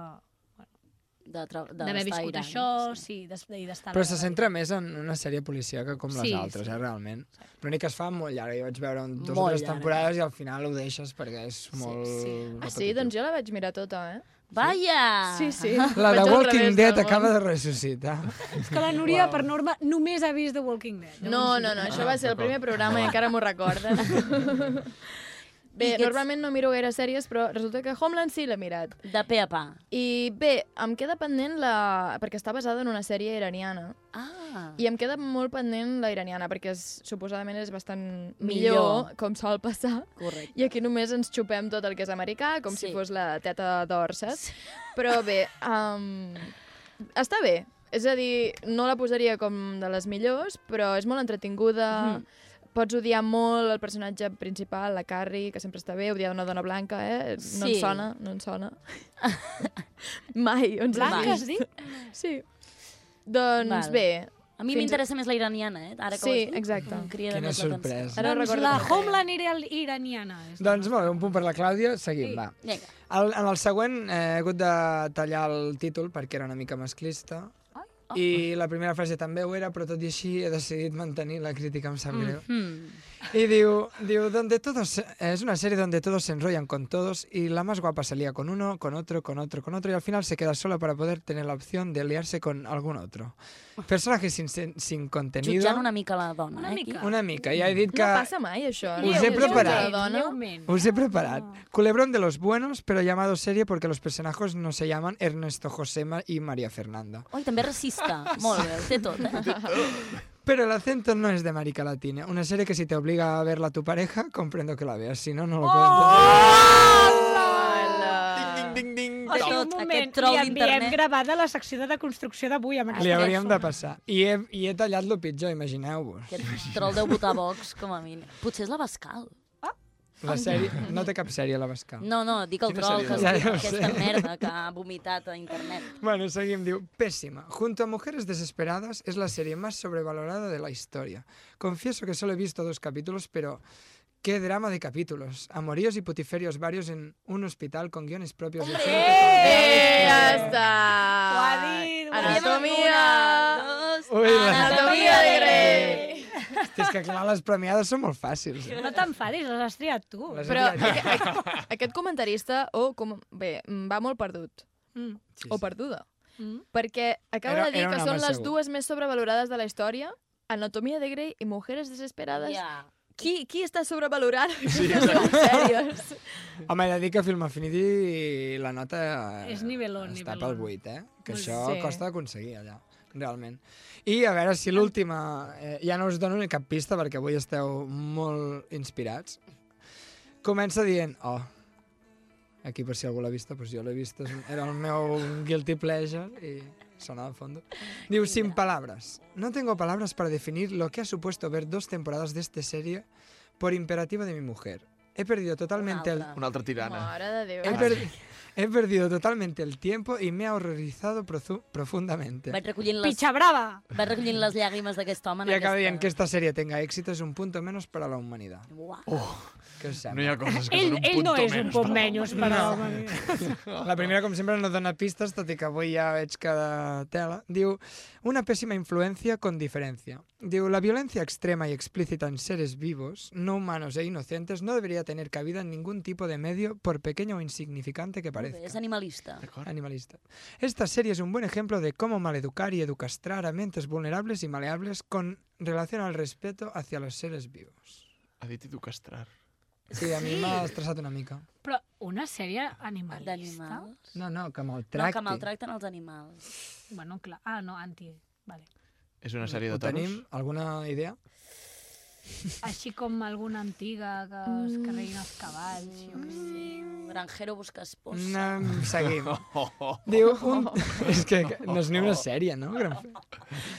S7: de tra- de
S10: d'haver
S7: d'estar a
S10: viscut
S7: Iran.
S10: això, sí, des- i d'estar...
S8: Però se centra més en una sèrie policíaca com les
S10: Sí,
S8: altres,
S10: sí.
S8: eh, realment. L'únic que es fa molt llarga. Jo vaig veure un, dues
S7: Molt
S8: o tres
S7: llarga.
S8: temporades i al final ho deixes perquè és molt... Sí,
S12: Ah, sí? Doncs jo la vaig mirar tota, eh?
S7: Vaya!
S12: Sí, sí.
S8: La
S12: Vaig
S8: de
S12: al
S8: Walking
S12: revés
S8: Dead
S12: del món.
S8: acaba de ressuscitar.
S10: És que la Núria, per norma, només ha vist The Walking Dead.
S12: No, no, no,
S7: Ah,
S12: això va ser el primer programa i encara m'ho recorda. Bé,
S7: I ets-
S12: normalment no miro gaire sèries, però resulta que Homeland sí l'he mirat.
S7: De pe a pa.
S12: I bé, em queda pendent la... perquè està basada en una sèrie iraniana.
S7: Ah.
S12: I em queda molt pendent la iraniana, perquè és, suposadament és bastant millor,
S7: Millor.
S12: com sol passar.
S7: Correcte.
S12: I aquí només ens xupem tot el que és americà, com
S7: Sí.
S12: si fos la teta d'or, saps? Però bé, um, està bé. És a dir, no la posaria com de les millors, però és molt entretinguda,
S7: Mhm.
S12: pots odiar molt el personatge principal, la Carrie, que sempre està bé, odiar una dona blanca, eh? No
S7: Sí.
S12: em sona, no em sona. Mai, on s'ha
S10: Ah,
S7: Blanca,
S12: vist.
S7: has dit?
S12: Sí. Doncs
S7: Val.
S12: bé.
S7: A mi
S12: fins-
S7: m'interessa més la iraniana, eh? Ara que
S12: Sí,
S7: ho has dit,
S12: exacte.
S7: em crida
S8: Quina
S7: més l'atenció.
S8: sorpresa.
S12: Ara
S10: Doncs
S12: recordo
S10: la
S12: per què.
S10: Homeland era iraniana. És.
S8: Doncs molt bé, un punt per la Clàudia. Seguim, va.
S7: Vinga.
S8: El, en el següent eh, he hagut de tallar el títol perquè era una mica masclista.
S7: oh.
S8: I la primera frase també ho era, però tot i així he decidit mantenir la crítica, em sap greu.
S7: Mhm.
S8: Y digo, digo, donde todos, se- es una serie donde todos se enrollan con todos y la más guapa salía con uno, con otro, con otro, con otro y al final se queda sola para poder tener la opción de liarse con algún otro. Personajes sin, sen- sin contenido.
S7: Jutjant una mica la dona, una eh? Mica.
S8: Una mica, ja he dit que...
S12: No passa mai, això.
S8: Us he
S12: Lleu-
S8: preparat.
S12: lleu- dona.
S8: Os he preparado. Culebrón de los buenos, pero llamado serie porque los personajes no se llaman Ernesto Josema y María Fernanda.
S7: Ui, també racista. Molt bé, ho té tot, eh?
S8: Pero el acento no es de América Latina. Una serie que si te obliga a verla tu pareja, comprendo que la veas, si no, no lo puedo Ah.
S12: Hola!
S14: Ding, ding, ding.
S10: O sigui, un moment, li enviem gravada la secció de deconstrucció d'avui amb
S8: Li
S10: aquesta
S8: hauríem de
S10: persona.
S8: passar. I he, i he tallat lo pitjor, imagineu-vos.
S7: Aquest troll deu votar Vox, com a mínim. Potser és l'Abascal.
S8: La sèrie... No té cap sèrie a l'Abascal.
S7: No, no, dic el
S8: Quina
S7: troll, que
S8: sèrie de
S7: és
S8: Vox? Ja ho
S7: aquesta
S8: sé.
S7: merda que ha vomitat a internet.
S8: Bueno, seguim, diu, pésima. Junto a Mujeres Desesperadas es la serie más sobrevalorada de la historia. Confieso que solo he visto dos capítulos, pero qué drama de capítulos. Amoríos y putiferios varios en un hospital con guiones propios. ¡Hombre!
S12: Eh, ja està. Ho ha dit.
S10: ho ha dit.
S12: Anatomia.
S8: Ui, la...
S12: Anatomia de Grey.
S8: Hosti, és que clar, les premiades són molt fàcils. eh?
S10: No t'enfadis, les has triat tu.
S8: Les he
S12: Però
S8: triat jo.
S12: aqu- aquest comentarista, o com... Bé, mm, va molt perdut.
S10: Mm.
S8: Sí,
S12: O perduda. Perquè acaba
S8: Era-
S12: de dir
S8: era un
S12: que
S8: home
S12: són les
S8: segur.
S12: dues més sobrevalorades de la història, Anatomia de Grey i Mujeres Desesperades.
S7: Ja.
S12: Qui, qui està sobrevalorant? Sí, sèries.
S8: Home, he de dir que Film Affinity la nota eh,
S10: És nivelón,
S8: està
S10: nivelón.
S8: pel 8, eh? Que
S10: Molt
S8: això
S10: bé. Sí.
S8: costa d'aconseguir allà, realment. I a veure si l'última... Eh, ja no us dono ni cap pista perquè avui esteu molt inspirats. Comença dient... Oh, aquí per si algú l'ha vista, doncs jo l'he vista, és un- era el meu guilty pleasure i sonava de fondo. Diu, sin palabras. No tengo palabras para definir lo que ha supuesto ver dos temporadas de esta serie por imperativo de mi mujer. He perdido totalmente el...
S14: Una altra tirana.
S12: Mare de Déu.
S8: He, perdi- he perdido totalmente el tiempo y me ha horrorizado prozu- profundamente.
S7: Vaig recollint les...
S10: Pitxa brava!
S7: Vaig recollint les llàgrimes d'aquest home. en
S8: Y acaba
S7: aquesta-
S8: diciendo que esta serie tenga éxito es un punto menos para la humanidad.
S7: Uau.
S8: Oh, Que us sembla?
S14: No hi ha coses que
S10: Ell,
S14: són un
S10: ell
S14: punto
S10: no és un
S14: menos.
S10: poc menys, però...
S8: La primera, com sempre, no dona pistes, tot i que avui ja veig que de tela. Diu, una pésima influencia con diferencia. Diu, la violencia extrema y explícita en seres vivos, no humanos e inocentes, no debería tener cabida en ningún tipo de medio, por pequeño o insignificante que
S7: Molt bé,
S8: parezca.
S7: És animalista.
S8: Animalista. Esta serie es un buen ejemplo de cómo maleducar y educastrar a mentes vulnerables y maleables con relación al respeto hacia los seres vivos.
S14: Ha dit educastrar.
S8: Sí, a mi m'ha estressat una mica.
S10: Però una sèrie animalista?
S7: D'animals.
S8: No, no, que
S7: No,
S8: maltracti.
S7: que maltracten els animals.
S10: Bueno, clar. Ah, no, anti... Vale.
S14: És una sèrie de
S8: Ho
S14: toros.
S8: tenim? Alguna idea?
S10: Així com alguna antiga que es carreguin els cavalls, jo què sé.
S7: Granjero busca esposa.
S8: No, seguim.
S14: Oh,
S8: Diu un... És que no és ni una sèrie, no? Gran-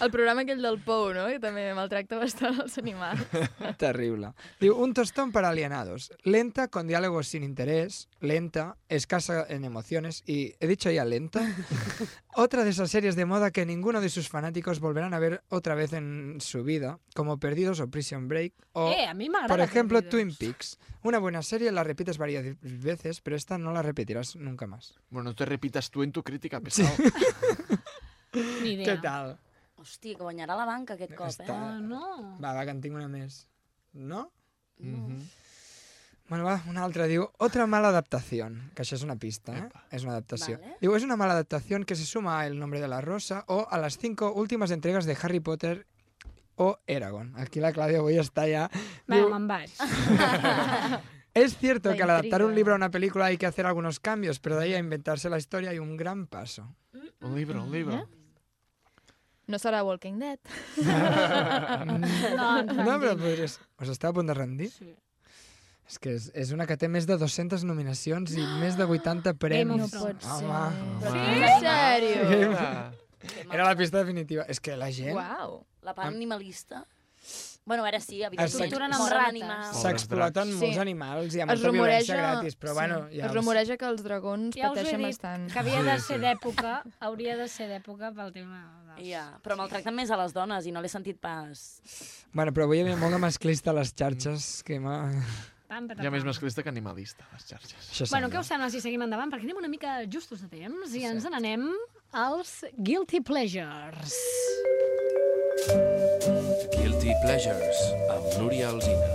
S12: El programa aquell del Pou, no? Que també maltracta bastant els animals.
S8: Terrible. Diu, un tostón para alienados. Lenta, con diálogos sin interés. Lenta, escasa en emociones. Y, ¿he dicho ya lenta? otra de esas series de moda que ninguno de sus fanáticos volverán a ver otra vez en su vida, como Perdidos o Prison Break. O,
S10: Eh, a mí me agrada
S8: Por ejemplo, Twin Peaks. Una buena serie la repites varias veces, pero esta no la repetirás nunca más.
S14: Bueno, no te repitas tú en tu crítica, pesado.
S10: Ni idea. Ah,
S8: Què tal?
S7: Hòstia, que guanyarà la banca aquest cop, eh?
S8: Està-
S10: no.
S8: Va, va, que en tinc una més. No? No. Bueno, va, una altra. Diu, otra mala adaptación. Que això és una pista, eh? És una adaptació.
S15: Vale.
S8: Diu, es una mala adaptación que se suma a El nombre de la rosa o a las cinco últimas entregas de Harry Potter o Eragon. Aquí la Claudia avui està ja...
S10: Va, me'n vaig.
S8: Es cierto
S10: La
S8: que al adaptar un
S10: intriga.
S8: libro a una película hay que hacer algunos cambios, pero de ahí a inventarse la historia hay un gran paso.
S14: Un libro, un libro.
S12: No serà Walking Dead.
S10: Ah, No, ens
S8: no, però
S10: rendim.
S8: podries... Us està a punt de rendir? Sí. És que és, és una que té més de 200 nominacions i més de 80 premis.
S12: no pot ser.
S8: Home,
S12: Sí?
S8: home.
S12: En sèrio?
S14: Ah.
S8: Game- Era la pista definitiva. És que la gent...
S7: Uau. La part
S8: Am-
S7: animalista. Bueno, a veure, sí,
S8: Es
S7: evidentment.
S8: torturen
S7: Torturen
S8: amb
S7: amb
S8: rates.
S7: animals.
S8: S'exploten
S12: Sí.
S8: molts animals i amb
S12: Es
S8: molta
S12: rumoreja-
S8: violència gratis, però
S12: sí.
S8: bueno... Ja
S12: Es rumoreja que els dragons
S10: Ja us he
S12: pateixen
S10: dit
S12: bastant.
S10: que havia de ser d'època, hauria de ser d'època pel tema dels...
S7: Ja, però maltracten més a les dones i no l'he sentit pas.
S8: Bueno, però avui hi havia molt de masclista a les xarxes que m'ha...
S10: Pam, pam,
S14: Hi ha més
S10: pam.
S14: masclista que animalista, a les xarxes.
S8: Això
S10: Bueno, què us sembla si seguim endavant? Perquè anem una mica justos de temps i ens n'anem als Guilty Pleasures.
S16: Guilty Pleasures, amb Núria Alzina.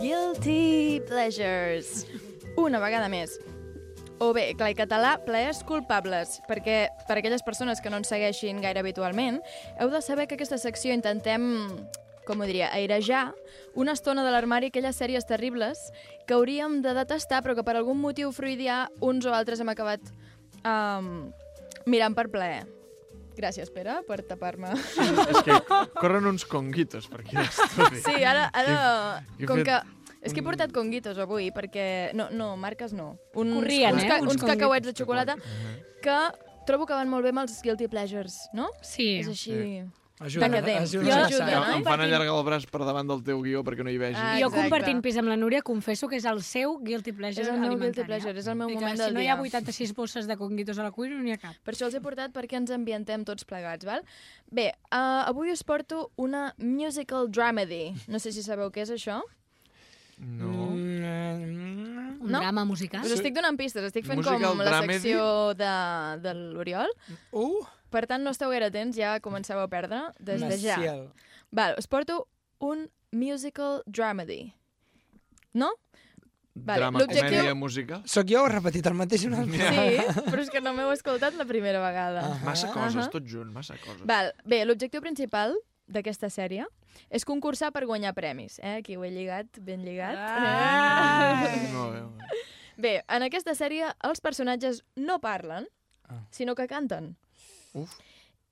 S12: Guilty pleasures. Una vegada més. O bé, clar, i català, plaers culpables, perquè per aquelles persones que no ens segueixin gaire habitualment, heu de saber que aquesta secció intentem, com ho diria, airejar una estona de l'armari aquelles sèries terribles que hauríem de detestar però que per algun motiu freudià uns o altres hem acabat um, mirant per plaer. Gràcies, Pere, per tapar-me.
S14: És que corren uns conguitos per aquí a l'estudi.
S12: Sí, ara, ara
S14: Jo- jo he
S12: com
S14: fet
S12: que... És que he portat conguitos avui, perquè... No, no marques no. Uns,
S10: Corrien,
S12: uns,
S10: eh?
S12: ca-
S10: Uns
S12: Uns
S10: conguitos.
S12: cacauets de xocolata que trobo que van molt bé amb els guilty pleasures, no?
S10: Sí.
S12: És així...
S14: Sí.
S12: Ajuda, Decadent. ajuda Jo- a passar.
S14: Em-
S12: no?
S14: Em fan allargar el braç per davant del teu guió perquè no hi vegi.
S10: jo compartint pis amb la Núria confesso que és el seu guilty pleasure
S12: És el meu guilty
S10: alimentari, eh?
S12: pleasure, és el meu
S10: I que
S12: moment
S10: si
S12: del
S10: no
S12: dia.
S10: hi ha 86 bosses de conguitos a la cuina, no n'hi ha cap.
S12: Per això els he portat perquè ens ambientem tots plegats, val? Bé, uh, avui us porto una musical dramedy. No sé si sabeu què és això.
S14: No.
S8: Mm,
S10: Un
S12: No?
S10: drama musical.
S12: Us estic donant pistes, estic fent
S14: Musical
S12: com la
S14: dramedy?
S12: secció de, de l'Oriol.
S8: Uh!
S12: Per tant, no esteu gaire atents, ja comenceu a perdre des de ja.
S8: Maciel.
S12: Val, us porto un musical dramedy. No? Vale,
S14: Drama,
S12: l'objectiu-
S14: comèdia, música.
S8: Soc jo o he repetit el mateix una altra?
S12: Sí, però és que no m'heu escoltat la primera vegada.
S14: Massa coses,
S12: Ahà.
S14: tot junt, massa coses.
S12: Val, bé, l'objectiu principal d'aquesta sèrie és concursar per guanyar premis. Eh? Aquí ho he lligat, ben lligat. Ah!
S14: No, bé,
S12: Bé, en aquesta sèrie els personatges no parlen, sinó que canten.
S14: Ah. Uf.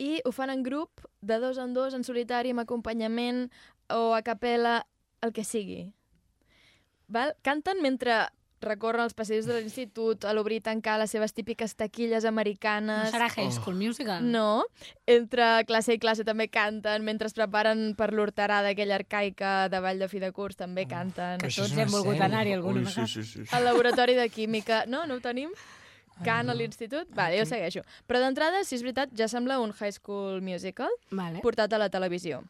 S12: I ho fan en grup, de dos en dos, en solitari, amb acompanyament o a capella, el que sigui. Val? Canten mentre recorren els passadissos de l'institut, a l'obrir i tancar les seves típiques taquilles americanes...
S10: No serà High School Musical?
S12: No. Entre classe i classe també canten, mentre es preparen per l'horterada aquella arcaica de Vall de Fi de Curs també canten.
S10: que això Tots és una hem volgut sèrie. anar-hi alguna Ui, sí, vegada.
S14: sí, sí, sí.
S12: Al laboratori de química. No, no ho tenim? Can a l'institut? Vale, jo segueixo. Però d'entrada, si és veritat, ja sembla un High School Musical
S10: vale.
S12: portat a la televisió.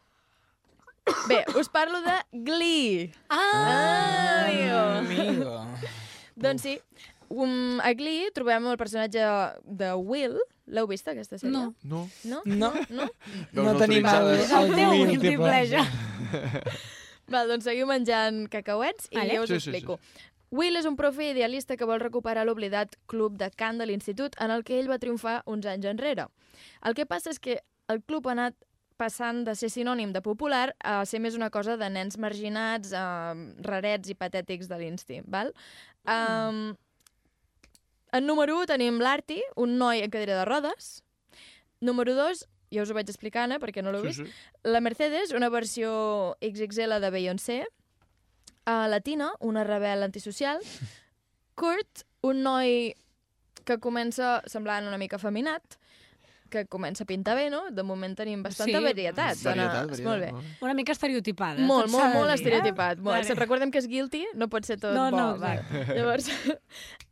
S12: Bé, us parlo de Glee.
S10: Ah,
S12: amigo. Doncs sí, um, a Glee trobem el personatge de Will. L'heu vist, aquesta sèrie? No.
S14: No.
S12: No?
S8: No.
S12: no?
S8: No tenim el,
S14: autoritzades. És el teu
S8: guilty
S14: guilty
S8: pleasure.
S12: Val, doncs seguiu menjant cacauets i
S14: Vale.
S12: ja us
S14: Sí,
S12: ho
S14: sí,
S12: explico. Will és un profe idealista que vol recuperar l'oblidat club de cant de l'institut en el que ell va triomfar uns anys enrere. El que passa és que el club ha anat passant de ser sinònim de popular a ser més una cosa de nens marginats, eh, rarets i patètics de l'insti, val? Mm. Um, en número 1 tenim l'Arti, un noi en cadira de rodes. Número 2, ja us ho vaig explicar, Anna, perquè no l'heu
S13: Sí,
S12: vist,
S13: sí.
S12: la Mercedes, una versió XXL de Beyoncé. A la Tina, una rebel antisocial. Kurt, un noi que comença semblant una mica feminat, que comença a pintar bé, no? De moment tenim bastanta
S10: Sí.
S12: varietat. Anna.
S10: Varietat, varietat,
S12: molt bé.
S10: molt bé. Una mica estereotipada.
S12: Molt,
S10: tot s'ha
S12: molt,
S10: de
S12: molt
S10: dir, eh?
S12: estereotipat. Molt.
S10: Vale.
S12: Si recordem que és guilty, no pot ser tot
S10: No,
S12: bo.
S10: no,
S12: va.
S10: exacte.
S12: Llavors,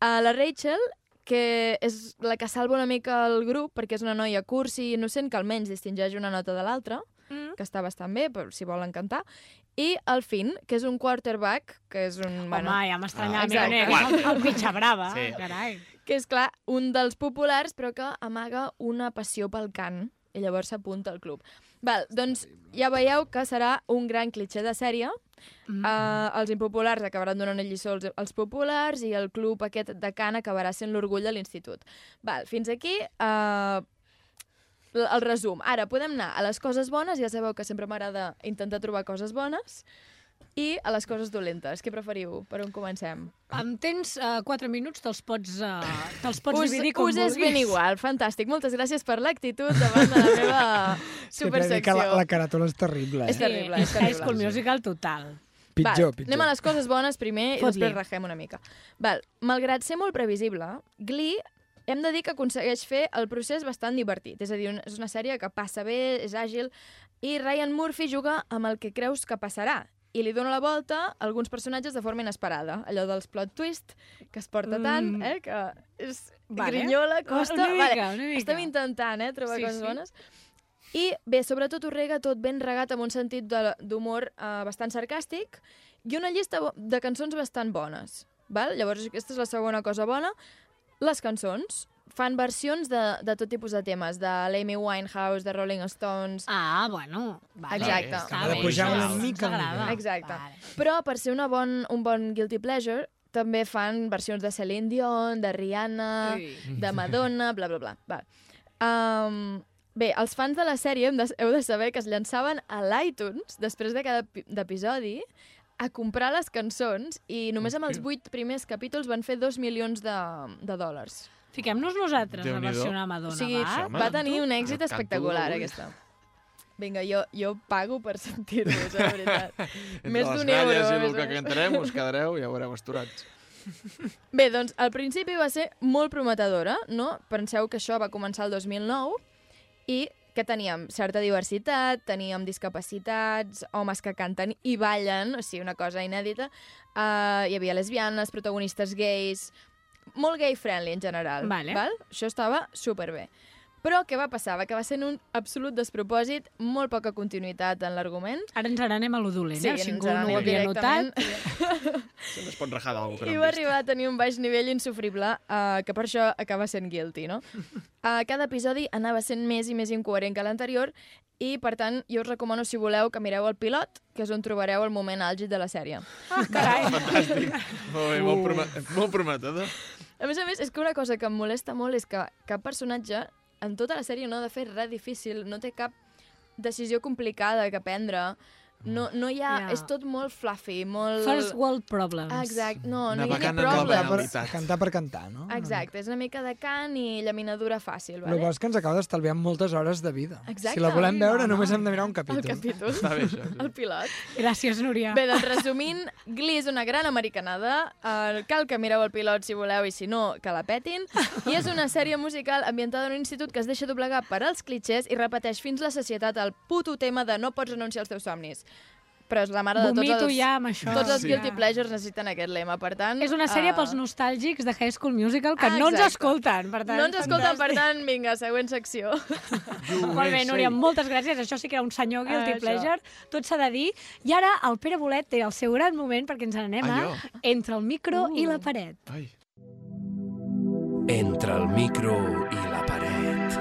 S12: a la Rachel, que és la que salva una mica el grup, perquè és una noia cursi i innocent, que almenys distingeix una nota de l'altra,
S10: Mm.
S12: que està bastant bé, però si volen cantar. I el Finn, que és un quarterback, que és un...
S10: Home, ja m'estranyava,
S12: exacte.
S10: mira, no, és el- el mitja brava, carai.
S12: Que és, clar, un dels populars, però que amaga una passió pel cant i llavors s'apunta al club. Val, doncs ja veieu que serà un gran clitxer de sèrie. Mm. Uh, els impopulars acabaran donant lliçó als, als populars i el club aquest de Can acabarà sent l'orgull de l'institut. Val, fins aquí uh, el resum. Ara, podem anar a les coses bones, ja sabeu que sempre m'agrada intentar trobar coses bones, i a les coses dolentes. Què preferiu? Per on comencem?
S10: Em tens uh, 4 minuts, te'ls pots, uh, te'ls pots
S12: us,
S10: dividir com
S12: us
S10: vulguis.
S12: és ben igual, fantàstic. Moltes gràcies per l'actitud davant de la meva
S8: Sí, t'he de dir que
S12: supersecció.
S8: la, la caràtula és terrible, eh?
S12: És terrible,
S10: Sí,
S12: és terrible.
S10: High School Musical total.
S8: Pitjor,
S12: Val,
S8: pitjor.
S12: Anem a les coses bones primer i
S10: Fot-li.
S12: després regem una mica. Val, malgrat ser molt previsible, Glee hem de dir que aconsegueix fer el procés bastant divertit. És a dir, un- és una sèrie que passa bé, és àgil, i Ryan Murphy juga amb el que creus que passarà i li dona la volta a alguns personatges de forma inesperada. Allò dels plot twist, que es porta
S10: Mm.
S12: tant, eh, que és
S10: Vale.
S12: grinyola, costa...
S10: Una mica,
S12: vale.
S10: una mica.
S12: Estem intentant eh, trobar
S10: Sí,
S12: coses
S10: sí.
S12: bones. I bé, sobretot ho rega tot ben regat amb un sentit de- d'humor eh, bastant sarcàstic i una llista bo- de cançons bastant bones. Val? Llavors, aquesta és la segona cosa bona. Les cançons fan versions de, de tot tipus de temes, de l'Amy Winehouse, de Rolling Stones...
S10: Ah, bueno, vale.
S12: Exacte.
S10: Està Acaba de bé, pujar una ens mica el agrada. nivell.
S12: Exacte. Però per ser una bon, un bon guilty pleasure, també fan versions de Celine Dion, de Rihanna,
S10: Ui.
S12: de Madonna, bla, bla, bla. Val. Um, bé, els fans de la sèrie hem de, heu de saber que es llançaven a l'iTunes després de cada epi- d'episodi a comprar les cançons i només amb els
S10: Hòstia.
S12: vuit primers capítols van fer dos milions de, de dòlars.
S10: Fiquem-nos nosaltres a
S12: Déu-n'hi-do.
S10: versionar Madonna,
S12: O sigui,
S10: va?
S12: va tenir un èxit
S10: Jo canto
S12: espectacular,
S10: d'orgull.
S12: aquesta. Vinga, jo, jo pago per sentir-vos, la veritat.
S14: Entre
S12: més eh?
S14: les
S12: d'un euro.
S14: balles
S12: més
S14: i el
S12: d'un
S14: que
S12: euro.
S14: cantarem us quedareu i ja veureu esturats.
S12: Bé, doncs, al principi va ser molt prometedora, no? Penseu que això va començar el 2009 i que teníem certa diversitat, teníem discapacitats, homes que canten i ballen, o sigui, una cosa inèdita. Uh, hi havia lesbianes, protagonistes gais... Molt gay-friendly, en general.
S10: Vale.
S12: Val? Això estava superbé. Però què va passar? Va acabar sent un absolut despropòsit, molt poca continuïtat en l'argument.
S10: Ara ens n'anem a lo dolent, eh? Si
S12: ens
S10: ningú no ho
S12: n'anem
S10: havia
S12: directament.
S10: notat.
S14: Es pot rajar d'algú que
S12: I
S14: no hem
S12: va
S14: vist.
S12: arribar a tenir un baix nivell insufrible, uh, que per això acaba sent guilty, no? Uh, cada episodi anava sent més i més incoherent que l'anterior i, per tant, jo us recomano, si voleu, que mireu el pilot, que és on trobareu el moment àlgid de la sèrie.
S14: Fantàstic. Molt bé,
S12: Uh.
S14: molt, prome molt prometedor.
S12: A més a més, és que una cosa que em molesta molt és que cap personatge en tota la sèrie no ha de fer res difícil, no té cap decisió complicada que prendre, no, no hi ha...
S10: Ja.
S12: Yeah. És tot molt fluffy, molt...
S10: First world problems.
S12: Exacte, no, no hi ha ni
S8: cantar,
S12: problemes.
S8: per, cantar per cantar, no?
S12: Exacte, és Ah, una mica de cant i llaminadura fàcil,
S8: Vale. El
S12: vale?
S8: bo és que ens acaba d'estalviar moltes hores de vida.
S12: Exacte.
S8: Si la volem
S12: No,
S8: veure,
S12: no.
S8: només hem de mirar un
S12: El
S8: capítol.
S12: capítol. El pilot.
S10: Gràcies, Núria.
S12: Bé, doncs resumint, Glee és una gran americanada, eh, cal que mireu el pilot si voleu i si no, que la petin, i és una sèrie musical ambientada en un institut que es deixa doblegar per als clitxers i repeteix fins la societat el puto tema de no pots anunciar els teus somnis. Però és la mare de tots
S10: Vomito
S12: els...
S10: ja amb això.
S12: Tots els
S10: Sí.
S12: guilty pleasures necessiten aquest lema, per tant...
S10: És una sèrie
S12: eh,
S10: pels nostàlgics de High School Musical que
S12: Ah,
S10: no ens
S12: exacte.
S10: escolten. Per tant,
S12: No ens escolten, per
S10: fantàstic.
S12: tant, vinga, següent secció.
S10: Molt bé, Núria, moltes gràcies. Això sí que era un senyor guilty
S12: Ah, això.
S10: pleasure. Tot s'ha de dir. I ara el Pere Bolet té el seu gran moment perquè ens n'anem a
S16: Ah,
S10: Entre el micro i
S12: Uh.
S10: la paret.
S16: Entre el micro i la paret.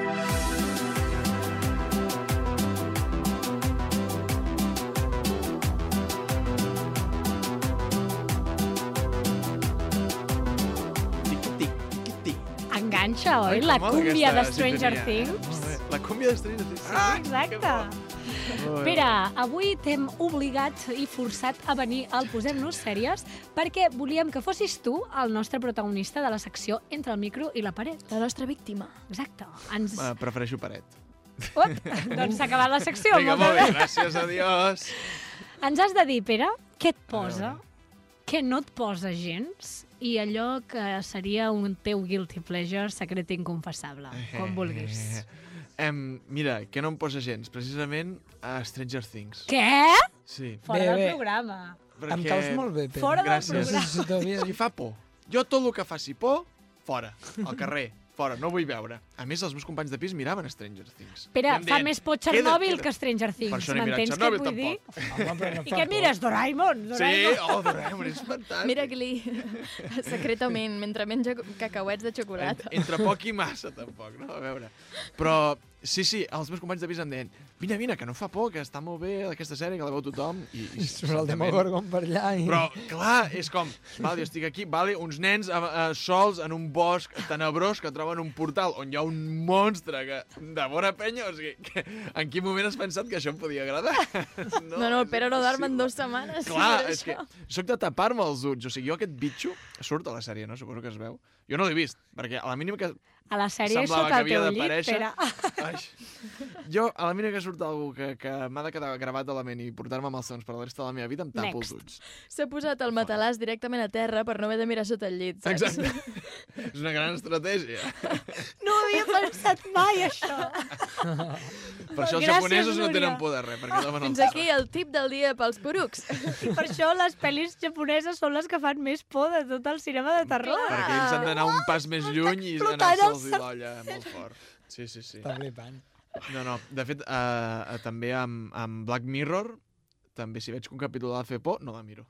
S10: Enganxa, oi?
S14: Ai, que
S10: la
S14: mola
S10: cúmbia de
S14: aquesta sintonia,
S10: Stranger
S14: eh?
S10: Things.
S14: Molt bé. La cúmbia de Stranger Things.
S10: Ah, exacte.
S14: Molt bé.
S10: Pere, avui t'hem obligat i forçat a venir al Posem-nos Sèries perquè volíem que fossis tu el nostre protagonista de la secció Entre el micro i la paret. La nostra víctima. Exacte. Ens...
S14: Uh, prefereixo paret.
S10: Op, doncs s'ha acabat la secció.
S14: Vinga, molt
S10: Moltes
S14: bé, gràcies, adiós.
S10: Ens has de dir, Pere, què et posa, què no et posa gens i allò que seria un teu guilty pleasure secret i inconfessable, com
S14: Eh.
S10: vulguis.
S14: Em, mira, que no em posa gens, precisament a Stranger Things.
S10: Què?
S14: Sí.
S10: Fora del programa.
S14: Perquè...
S8: Em caus molt bé, Pere. Fora del
S14: Gràcies.
S8: programa.
S14: És que fa por. Jo tot el que faci por, fora, al carrer, fora, no vull veure. A més, els meus companys de pis miraven Stranger Things. I
S10: Espera,
S14: em
S10: fa
S14: deien,
S10: més por
S14: "Queda,
S10: Txernòbil
S14: queda".
S10: que Stranger Things.
S14: Per això no he mirat
S10: M'entens què
S14: Txernòbil,
S10: vull dir?
S14: tampoc.
S10: I què mires, Doraemon?
S14: Sí,
S10: Doraemon?
S14: oh, Doraemon, és fantàstic.
S12: Mira, Glee, secretament, mentre menja cacauets de xocolata.
S14: Entre, entre poc i massa, tampoc, no? A veure. Però, sí, sí, els meus companys de pis em deien vine, vine, que no fa por, que està molt bé aquesta sèrie, que la veu tothom. I, i,
S8: Surt el Demogorgon per allà i...
S14: Però, clar, és com, vale, jo estic aquí, vale, uns nens a, a, sols en un bosc tenebrós que troben un portal on hi ha un monstre que devora penya, o sigui, que, en quin moment has pensat que això em podia agradar? No,
S12: no, no el Pere no dorm en dues setmanes.
S14: Clar,
S12: per
S14: és que
S12: això.
S14: sóc de tapar-me els ulls. O sigui, jo aquest bitxo... Surt a la sèrie, no? Suposo que es veu. Jo no l'he vist, perquè a la mínima que...
S10: A la sèrie
S14: semblava
S10: sota
S14: que
S10: el
S14: havia
S10: teu llit,
S14: d'aparèixer-
S10: Pere. Ah,
S14: Jo, a la mínima que surt algú que, que m'ha de quedar gravat a la ment i portar-me malsons per la resta de la meva vida, em tapo els
S12: Next.
S14: ulls.
S12: S'ha posat el matalàs directament a terra per no haver de mirar sota el llit. saps?
S14: Exacte. És una gran estratègia.
S10: No ho havia pensat mai, això.
S14: Per això els
S12: Gràcies,
S14: japonesos no
S12: Núria. Ah,
S14: tenen por de res, perquè deuen el
S12: Fins aquí el tip del dia pels porucs.
S10: I per això les pel·lis japoneses són les que fan més por de tot el cinema de terror.
S14: Perquè ells
S10: Ah,
S14: han d'anar un pas més lluny i
S10: explotant
S14: anar-se'ls i
S10: el
S14: l'olla molt fort. Sí, sí, sí.
S8: Està flipant.
S14: No, no, de fet, eh, eh, també amb, amb Black Mirror, també si veig que un capítol ha de fer por, no la miro.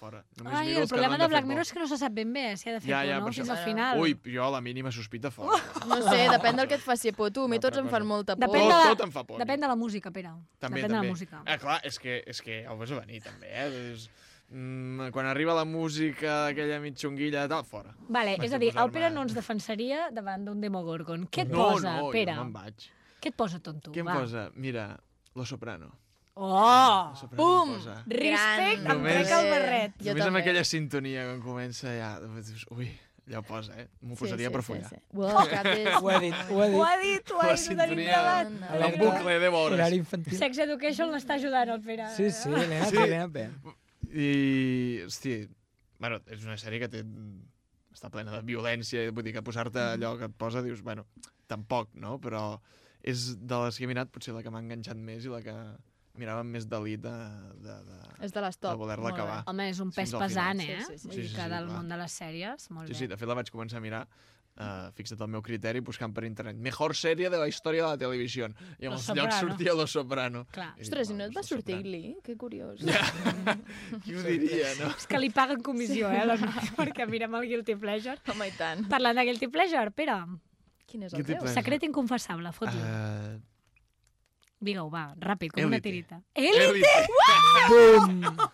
S14: Fora. Només
S10: Ai,
S14: miro
S10: el
S14: els que no
S10: problema
S14: han
S10: de
S14: fer
S10: Black
S14: por.
S10: Mirror és que no se sap ben bé si ha de fer por, no? Fins al final.
S14: Ui, jo la mínima sospita fora.
S12: No sé, depèn del que et faci por. Tu, a mi tots em fan molta por.
S10: Depèn de la,
S14: tot em fa por, a mi.
S10: depèn de la música, Pere.
S14: També,
S10: depèn
S14: també.
S10: de la música.
S14: Ah, clar, és que, és que ho veus a venir, també, eh? És, mm, quan arriba la música d'aquella mitjonguilla de tal, fora.
S10: Vale,
S14: Vaig
S10: és a dir, el
S14: posar-me-
S10: Pere no ens defensaria davant d'un Demogorgon. Què et
S14: Oh, no,
S10: posa,
S14: no,
S10: Pere?
S14: No, me'n vaig.
S10: Què et posa, tonto?
S14: Què em
S10: Va.
S14: posa? Mira, Lo Soprano.
S10: Oh!
S14: Soprano
S10: Bum!
S14: em posa.
S10: Respect, em trec el barret.
S12: Jo
S14: Tota. només amb
S12: també.
S14: aquella sintonia quan comença ja... Dius, ui, ja ho posa, eh? M'ho
S12: Sí,
S14: posaria
S12: sí,
S14: per
S12: sí,
S14: follar.
S12: sí. Well, cap és- Ho ha dit, ho ha dit. Ho ha dit,
S14: La
S12: ho ha dit, ho ha dit
S14: sintonia
S12: davant.
S14: en bucle de vores.
S8: Horari infantil.
S10: Sex Education l'està ajudant, el Pere.
S8: Sí, sí, l'he anat
S14: Sí.
S8: sí. bé, l'he anat bé.
S14: I, hosti, bueno, és una sèrie que té, està plena de violència, vull dir que posar-te
S10: Mm.
S14: allò que et posa, dius, bueno, tampoc, no? Però és de les que he mirat potser la que m'ha enganxat més i la que mirava amb més delit eh, de, de, de,
S12: És de les top.
S14: de voler-la
S10: Molt bé.
S14: acabar.
S10: Home, és un
S14: fins
S10: pes
S14: al final.
S10: pesant, eh?
S12: Sí, sí, sí.
S10: Vull dir
S14: Sí, sí,
S10: que
S14: sí,
S10: del
S14: clar.
S10: món de les sèries, molt
S14: Sí,
S10: bé.
S14: sí, de fet la vaig començar a mirar, uh, fixa't el meu criteri, buscant per internet. Mejor sèrie de la història de la televisió. I en
S12: Los
S14: els llocs
S12: Soprano.
S14: sortia Los Soprano.
S10: Clar.
S14: I,
S12: Ostres, i no et va sortir Glee? Que curiós.
S14: qui ho diria, no?
S10: És que li paguen comissió, eh, la Núria, perquè mirem el Guilty Pleasure.
S12: Home, i tant.
S10: Parlant de Guilty Pleasure, Pere.
S12: Quin és
S14: el Guilty teu? pleasure.
S10: Secret inconfessable, fot-li. Uh...
S14: Uh,
S10: Digue-ho, va, ràpid, com una
S14: Élite.
S10: tirita.
S14: Élite!
S12: Ah,
S10: Bum!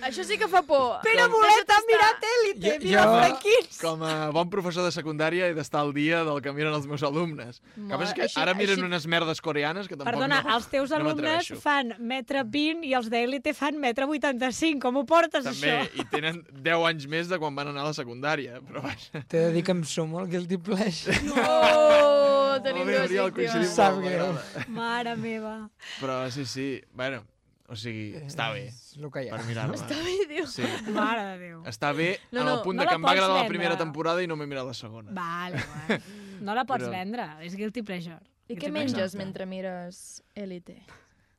S12: Això sí que fa por.
S10: Pere
S12: Com-
S10: Bolet
S12: Deixa't
S10: ha mirat
S12: estar.
S10: Élite,
S14: Com a bon professor de secundària he d'estar al dia del que miren els meus alumnes.
S10: Molt-
S14: Cap és que
S10: així-
S14: ara miren
S10: així-
S14: unes merdes coreanes que tampoc
S10: Perdona,
S14: no,
S10: els teus
S14: no
S10: alumnes
S14: m'atreveixo.
S10: fan metre 20 i els d'Élite fan metre 85. Com ho portes,
S14: També,
S10: això?
S14: i tenen 10 anys més de quan van anar a la secundària. Però vaja,
S8: T'he de dir que em sumo al Guilty Pleasure.
S12: Oh,
S14: tenim Molt bé, dues Oriol, víctimes. coincidim
S8: Sap
S14: molt,
S8: greu.
S10: Mare meva.
S14: però sí, sí, bueno, o sigui, està bé. És
S8: el que hi ha.
S14: Per mirar-me.
S8: Està
S12: bé, diu.
S14: Sí.
S10: Mare de Déu.
S14: Està bé no,
S10: No,
S14: en
S10: no,
S14: el punt
S10: no
S14: de
S10: la
S14: que em va
S10: pots
S14: agradar la
S10: vendre.
S14: primera temporada i no m'he mirat la segona.
S10: Vale, vale. No la pots
S14: Però-
S10: vendre, és guilty pleasure.
S12: I
S10: Guilty
S12: què
S10: pleasure.
S12: menges mentre mires Elite?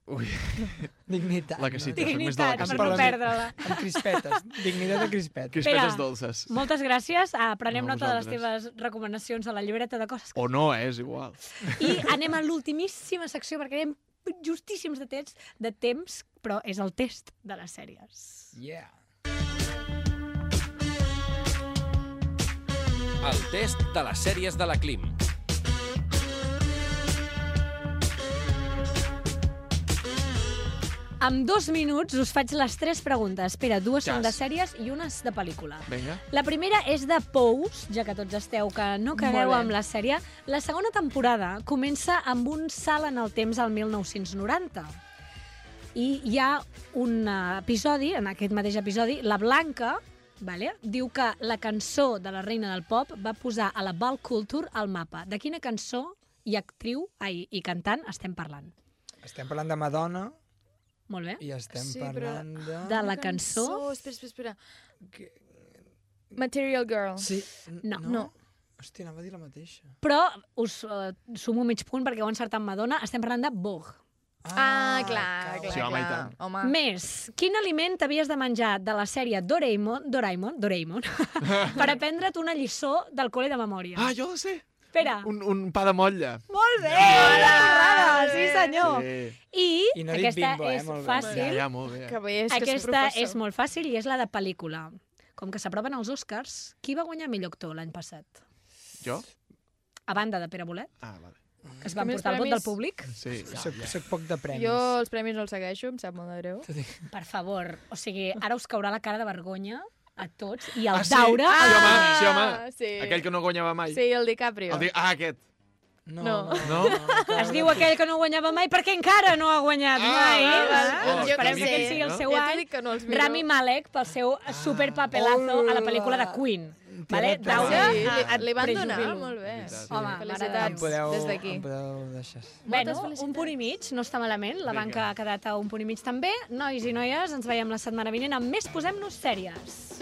S14: Ui.
S8: Dignitat.
S14: La casita,
S10: no?
S14: soc més de la
S10: Dignitat,
S14: casita.
S10: per no perdre-la.
S8: Amb crispetes. Dignitat de crispetes.
S14: Crispetes dolces.
S10: Moltes gràcies. Ah, prenem
S14: No,
S10: no, nota de les
S14: vosaltres.
S10: teves recomanacions a la llibreta de coses.
S14: O no, eh, és igual.
S10: I anem a l'ultimíssima secció perquè anem justíssims de temps, de temps, però és el test de les sèries.
S8: Yeah.
S16: El test de les sèries de la Clim.
S10: Amb dos minuts us faig les tres preguntes. Espera, dues són de
S14: Cas.
S10: sèries i una és de pel·lícula.
S14: Vinga.
S10: La primera és de Pous, ja que tots esteu que no cagueu
S14: Molt bé.
S10: amb la sèrie. La segona temporada comença amb un salt en el temps al 1990. I hi ha un eh, episodi, en aquest mateix episodi, la Blanca vale? diu que la cançó de la reina del pop va posar a la Ball Culture al mapa. De quina cançó i actriu ai, i cantant estem parlant?
S8: Estem parlant de Madonna
S10: Molt bé.
S8: i estem
S12: Sí, però-
S8: parlant de...
S10: De la cançó?
S12: Oh, espera, espera, espera. Material Girl.
S8: Sí.
S10: No.
S12: No.
S8: Hòstia, anava a dir la mateixa.
S10: Però us eh, sumo mig punt perquè ho he encertat Madonna. Estem parlant de Vogue.
S12: Ah, clar, clar,
S14: Sí, home, i
S12: clar.
S14: tant.
S12: Home.
S10: Més, quin aliment t'havies de menjar de la sèrie Doraemon, Doraemon, Doraemon, per aprendre't una lliçó del col·le de memòria?
S14: Ah, jo la sé.
S10: Espera.
S14: Un, un pa de motlla.
S10: Molt bé!
S12: Ah,
S14: Hola!
S10: Sí,
S12: eh,
S10: senyor!
S14: Sí.
S10: I,
S14: I no ha dit
S10: aquesta
S14: bimbo, eh?
S10: és
S14: Molt bé.
S10: fàcil.
S14: Ja, ja, molt bé. Que
S12: bé, és que és
S10: aquesta
S12: professor.
S10: és molt fàcil i és la de pel·lícula. Com que s'aproven els Oscars, qui va guanyar millor actor l'any passat?
S14: Jo?
S10: A banda de Pere Bolet,
S14: Ah, vale.
S10: que es va
S12: També els
S10: portar el vot del
S12: premis-
S10: públic?
S14: Sí, ja,
S8: Soc,
S14: ja.
S8: soc poc de premis.
S12: Jo els premis no els segueixo, em sap molt de greu.
S10: Per favor, o sigui, ara us caurà la cara de vergonya a tots i el
S14: Ah, sí?
S10: daure...
S14: Sí, home, sí, home.
S12: Ah, sí.
S14: Aquell que no guanyava mai.
S12: Sí, el DiCaprio.
S14: El di... Ah, aquest.
S8: No.
S12: No.
S14: No?
S10: Es diu aquell que no guanyava mai perquè encara no ha guanyat
S12: Ah,
S10: mai.
S12: val, val.
S10: Ah,
S12: Oh,
S10: doncs
S12: jo
S10: Esperem
S12: què
S10: que
S12: sé,
S10: aquest sigui el
S12: no?
S10: seu
S12: Ja t'he
S10: any.
S12: dit que no els miro.
S10: Rami Malek pel seu
S12: Ah.
S10: superpapelazo a la pel·lícula de Queen. Vale?
S8: Tira,
S10: Daura
S8: tira.
S10: a,
S14: Ah,
S10: a
S12: Li van donar,
S10: Prejubilo.
S12: molt bé.
S10: Home,
S8: Em
S12: felicitats.
S8: podeu,
S12: Des d'aquí.
S8: Em podeu deixar.
S10: Bueno, un punt i mig, no està malament. La
S8: Vinga.
S10: banca ha quedat a un punt i mig també. Nois i noies, ens veiem la setmana vinent amb més Posem-nos sèries.